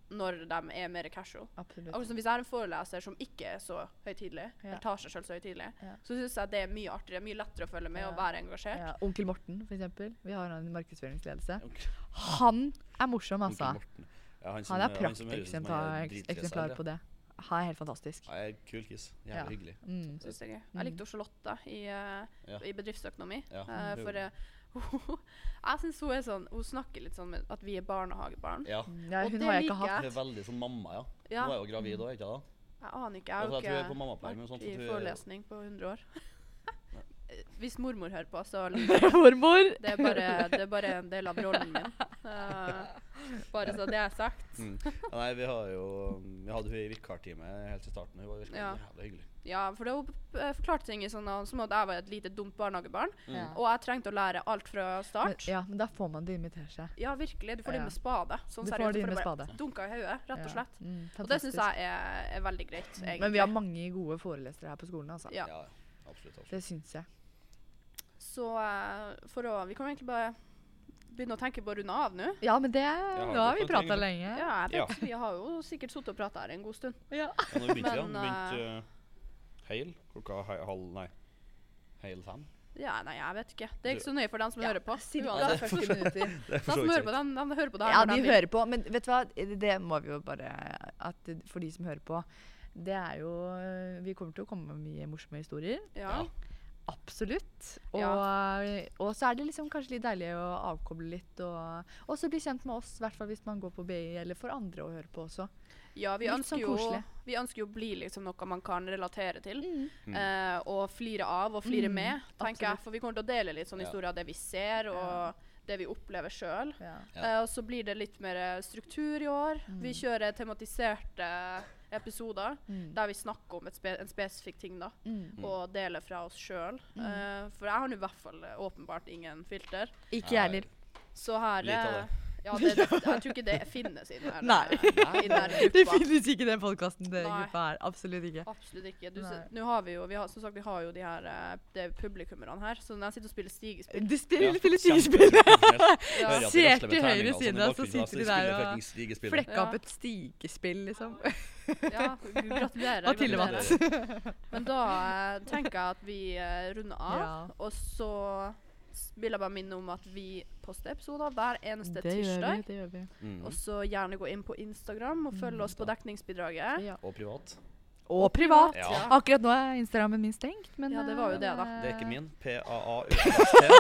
[SPEAKER 1] når de er mer casual.
[SPEAKER 2] Absolutt.
[SPEAKER 1] Akkurat som liksom, Hvis jeg er en foreleser som ikke er så høytidelig,
[SPEAKER 2] Ja.
[SPEAKER 1] eller tar seg selv så høytidelig,
[SPEAKER 2] Ja.
[SPEAKER 1] så syns jeg det er mye artigere, mye lettere å følge med og
[SPEAKER 2] Ja.
[SPEAKER 1] være engasjert.
[SPEAKER 2] Ja, onkel Morten, for eksempel. Vi har han i markedsføringsledelse.
[SPEAKER 3] Onkel-
[SPEAKER 2] Han er morsom,
[SPEAKER 3] Onkel
[SPEAKER 2] altså.
[SPEAKER 3] Morten. Ja,
[SPEAKER 2] Han er
[SPEAKER 3] som- som høres ut som han er
[SPEAKER 2] prakteksemplar
[SPEAKER 3] dritstressa,
[SPEAKER 2] eksemplar
[SPEAKER 3] eller?
[SPEAKER 2] på det. Han er helt fantastisk.
[SPEAKER 3] Ja, jeg er kul kiss. Jævlig
[SPEAKER 2] Ja.
[SPEAKER 3] hyggelig.
[SPEAKER 2] Mm.
[SPEAKER 1] Synes jeg, er gøy.
[SPEAKER 2] Mm.
[SPEAKER 1] jeg likte jo Charlotte i, eh,
[SPEAKER 3] Ja.
[SPEAKER 1] i bedriftsøkonomi.
[SPEAKER 3] Ja.
[SPEAKER 1] eh,
[SPEAKER 2] Mhm.
[SPEAKER 3] Mm.
[SPEAKER 1] for eh, jeg syns hun er sånn Hun snakker litt sånn med at vi er barnehagebarn.
[SPEAKER 3] Ja.
[SPEAKER 2] Ja,
[SPEAKER 1] Og
[SPEAKER 2] hun
[SPEAKER 1] det
[SPEAKER 2] har jeg ikke
[SPEAKER 1] liker
[SPEAKER 2] hatt.
[SPEAKER 1] jeg.
[SPEAKER 3] Hun er veldig sånn mamma, ja.
[SPEAKER 1] Ja,
[SPEAKER 3] Hun er jo gravid òg, ikke det?
[SPEAKER 1] jeg aner ikke.
[SPEAKER 3] Altså,
[SPEAKER 1] Jeg
[SPEAKER 3] Jeg tror
[SPEAKER 1] har
[SPEAKER 3] at hun er på
[SPEAKER 1] jo
[SPEAKER 3] mammapleie, men
[SPEAKER 1] ikke
[SPEAKER 3] sånn
[SPEAKER 1] vært
[SPEAKER 3] at
[SPEAKER 1] i
[SPEAKER 3] hun er-
[SPEAKER 1] forelesning på 100 år.
[SPEAKER 3] Nei.
[SPEAKER 1] Eh, Hvis mormor hører på, så
[SPEAKER 2] Mormor!
[SPEAKER 1] det er, bare, det er bare en del av rollen min. Eh, bare så det er sagt.
[SPEAKER 3] Mm. Ja, Nei, vi har jo Vi hadde hun i vikartime helt til starten. Hun var virkelig
[SPEAKER 1] Ja.
[SPEAKER 3] jævlig hyggelig.
[SPEAKER 1] Ja, for det hun eh, forklarte ting i sånn eh, som at jeg var et lite dumt barnehagebarn.
[SPEAKER 2] Mm. Ja.
[SPEAKER 1] Og jeg trengte å lære alt fra
[SPEAKER 2] Men,
[SPEAKER 1] start.
[SPEAKER 2] ja, men da får man det invitert seg.
[SPEAKER 1] Ja, virkelig. Du får det
[SPEAKER 2] Ja.
[SPEAKER 1] inn med spade. Sånn
[SPEAKER 2] Du får
[SPEAKER 1] seriøst,
[SPEAKER 2] det inn
[SPEAKER 1] for bare
[SPEAKER 2] med spade.
[SPEAKER 1] Dunka i hodet, rett og
[SPEAKER 2] Ja.
[SPEAKER 1] slett.
[SPEAKER 2] Mm,
[SPEAKER 1] Og det syns
[SPEAKER 2] fantastisk.
[SPEAKER 1] jeg
[SPEAKER 2] Mm.
[SPEAKER 1] er, er veldig greit. Egentlig.
[SPEAKER 2] Men vi har mange gode forelesere her på skolen, altså.
[SPEAKER 1] Ja.
[SPEAKER 3] Ja, ja. Absolutt. absolutt.
[SPEAKER 2] Det syns jeg.
[SPEAKER 1] Så eh, for å Vi kan egentlig bare begynne å tenke på å runde av nå.
[SPEAKER 2] Ja, men det Nå har vi
[SPEAKER 3] det kan
[SPEAKER 2] prata
[SPEAKER 3] tenke-
[SPEAKER 2] lenge.
[SPEAKER 1] Ja, jeg
[SPEAKER 3] Ja.
[SPEAKER 1] vet, Vi har jo sikkert sittet og prata her en god stund.
[SPEAKER 2] Ja.
[SPEAKER 3] Ja, når vi begynte, ja.
[SPEAKER 1] Men,
[SPEAKER 3] Vi begynte eh, heil klokka hei, halv Nei, heil fem.
[SPEAKER 1] Ja, nei, jeg vet ikke. Det er ikke
[SPEAKER 3] Du-
[SPEAKER 1] så nøye for dem som
[SPEAKER 2] Ja,
[SPEAKER 1] hører på.
[SPEAKER 2] Cirka
[SPEAKER 1] Uansett.
[SPEAKER 2] 40 minutter.
[SPEAKER 3] Det er
[SPEAKER 1] De som hører på, de, de hører på det her.
[SPEAKER 2] Ja,
[SPEAKER 1] når
[SPEAKER 2] de
[SPEAKER 1] vil.
[SPEAKER 2] hører på. Men vet du hva, det må vi jo bare at For de som hører på, det er jo Vi kommer til å komme med mye morsomme historier.
[SPEAKER 1] Ja.
[SPEAKER 3] Ja.
[SPEAKER 2] Absolutt. Og,
[SPEAKER 1] Ja.
[SPEAKER 2] og så er det liksom kanskje litt deilig å avkoble litt. Og og så bli kjent med oss, i hvert fall hvis man går på BI, eller for andre å høre på også.
[SPEAKER 1] ja, vi
[SPEAKER 2] Litt
[SPEAKER 1] ønsker,
[SPEAKER 2] sånn
[SPEAKER 1] jo,
[SPEAKER 2] koselig.
[SPEAKER 1] vi ønsker jo å bli liksom noe man kan relatere til.
[SPEAKER 3] Mm.
[SPEAKER 1] eh, og flire av og flire
[SPEAKER 2] Mm,
[SPEAKER 1] med, tenker
[SPEAKER 2] absolutt.
[SPEAKER 1] jeg. For vi kommer til å dele litt sånn
[SPEAKER 3] Ja.
[SPEAKER 1] historier av det vi ser, og
[SPEAKER 2] Ja.
[SPEAKER 1] det vi opplever sjøl.
[SPEAKER 2] Ja.
[SPEAKER 3] Ja.
[SPEAKER 1] Eh, og så blir det litt mer eh, struktur i år. Vi kjører tematiserte episoder
[SPEAKER 2] Mm.
[SPEAKER 1] der vi snakker om et spe en spesifikk ting, da.
[SPEAKER 2] Mm.
[SPEAKER 3] Mm.
[SPEAKER 1] Og deler fra oss sjøl. Eh, for jeg har nå i hvert fall eh, åpenbart ingen filter.
[SPEAKER 2] Ikke jeg heller.
[SPEAKER 1] Så her
[SPEAKER 3] Lite av
[SPEAKER 1] eh,
[SPEAKER 3] det.
[SPEAKER 1] Ja, det, det, jeg tror ikke det finnes i den her,
[SPEAKER 2] Nei.
[SPEAKER 1] eh, i den her
[SPEAKER 2] Det
[SPEAKER 1] gruppa.
[SPEAKER 2] finnes ikke i den podkasten, den
[SPEAKER 1] Nei.
[SPEAKER 2] gruppa her. Absolutt ikke.
[SPEAKER 1] Absolutt ikke. Du,
[SPEAKER 2] Nei.
[SPEAKER 1] se- nå har vi jo, vi har, som sagt, vi har jo de her eh, det er publikummerne her, så når jeg sitter og spiller stigespill
[SPEAKER 2] Du spiller,
[SPEAKER 3] Ja,
[SPEAKER 2] spiller
[SPEAKER 3] kjempeprofesjonelt.
[SPEAKER 2] stigespill!
[SPEAKER 1] Ja.
[SPEAKER 3] Hører at de
[SPEAKER 2] Ser
[SPEAKER 3] rasler med
[SPEAKER 2] til høyre
[SPEAKER 3] terninger og sånn,
[SPEAKER 2] side,
[SPEAKER 3] men
[SPEAKER 2] så
[SPEAKER 3] orker ikke, altså,
[SPEAKER 2] sitter de
[SPEAKER 3] spiller
[SPEAKER 2] der og
[SPEAKER 3] fucking stigespill.
[SPEAKER 2] Flekka
[SPEAKER 1] Ja.
[SPEAKER 2] opp et stigespill, liksom.
[SPEAKER 1] Ja, gratulerer.
[SPEAKER 2] Og til og med
[SPEAKER 1] gratulerer. Men da eh, tenker jeg at vi eh, runder av.
[SPEAKER 2] Ja.
[SPEAKER 1] Og så s- vil jeg bare minne om at vi poster episoder hver eneste
[SPEAKER 2] Det gjør vi.
[SPEAKER 1] tirsdag.
[SPEAKER 2] det gjør vi.
[SPEAKER 3] Mm.
[SPEAKER 1] Og så gjerne gå inn på Instagram og følg oss på dekningsbidraget.
[SPEAKER 2] Ja.
[SPEAKER 3] Og privat.
[SPEAKER 2] Mm. Og privat.
[SPEAKER 3] Ja.
[SPEAKER 1] Ja.
[SPEAKER 2] Akkurat nå er Instagrammen min stengt, men eh,
[SPEAKER 1] Ja, det var jo det, da.
[SPEAKER 3] Det er ikke min. PAA-UST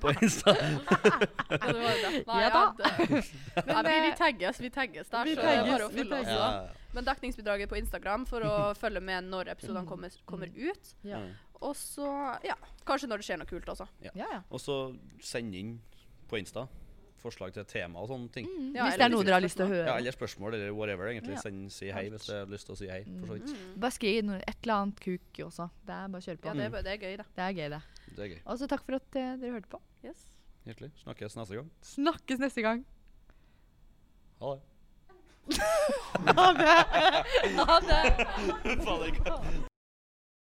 [SPEAKER 3] på Insta.
[SPEAKER 1] Ja, det var jo det. Nei,
[SPEAKER 2] Ja da.
[SPEAKER 1] jeg hadde- Nei, vi, vi
[SPEAKER 2] eh,
[SPEAKER 1] tagges, vi tagges der.
[SPEAKER 2] vi
[SPEAKER 1] så det er
[SPEAKER 2] tagges,
[SPEAKER 1] bare å
[SPEAKER 2] vi
[SPEAKER 1] følge oss.
[SPEAKER 2] tagges.
[SPEAKER 1] da. Men dekningsbidraget på Instagram for å følge med når
[SPEAKER 2] Mm.
[SPEAKER 1] episodene kommer, kommer ut.
[SPEAKER 2] Ja.
[SPEAKER 3] Mm.
[SPEAKER 1] Og så, ja, kanskje når det skjer noe kult også.
[SPEAKER 2] Ja, ja.
[SPEAKER 3] Og så send inn på Insta forslag til tema og sånne ting.
[SPEAKER 1] Ja,
[SPEAKER 2] Hvis det
[SPEAKER 1] eller
[SPEAKER 2] er noe dere har lyst til å
[SPEAKER 3] Ja,
[SPEAKER 2] høre.
[SPEAKER 3] Eller spørsmål eller whatever. egentlig.
[SPEAKER 2] Ja.
[SPEAKER 3] Send, si hei hvis du har lyst til å si hei. for så vidt.
[SPEAKER 2] Bare skriv noe, et eller annet kuk også. Det er bare å kjøre
[SPEAKER 1] Ja,
[SPEAKER 2] på.
[SPEAKER 1] det, er bare- det er gøy, det.
[SPEAKER 2] Det er gøy, det.
[SPEAKER 1] Mm.
[SPEAKER 3] Det er gøy.
[SPEAKER 2] Og så takk for at eh, dere hørte på.
[SPEAKER 1] Yes.
[SPEAKER 3] Hjertelig. Snakkes neste gang.
[SPEAKER 2] Snakkes neste gang.
[SPEAKER 3] Ha det.
[SPEAKER 2] Ha det. Ha det.
[SPEAKER 3] Faen, det er ikke-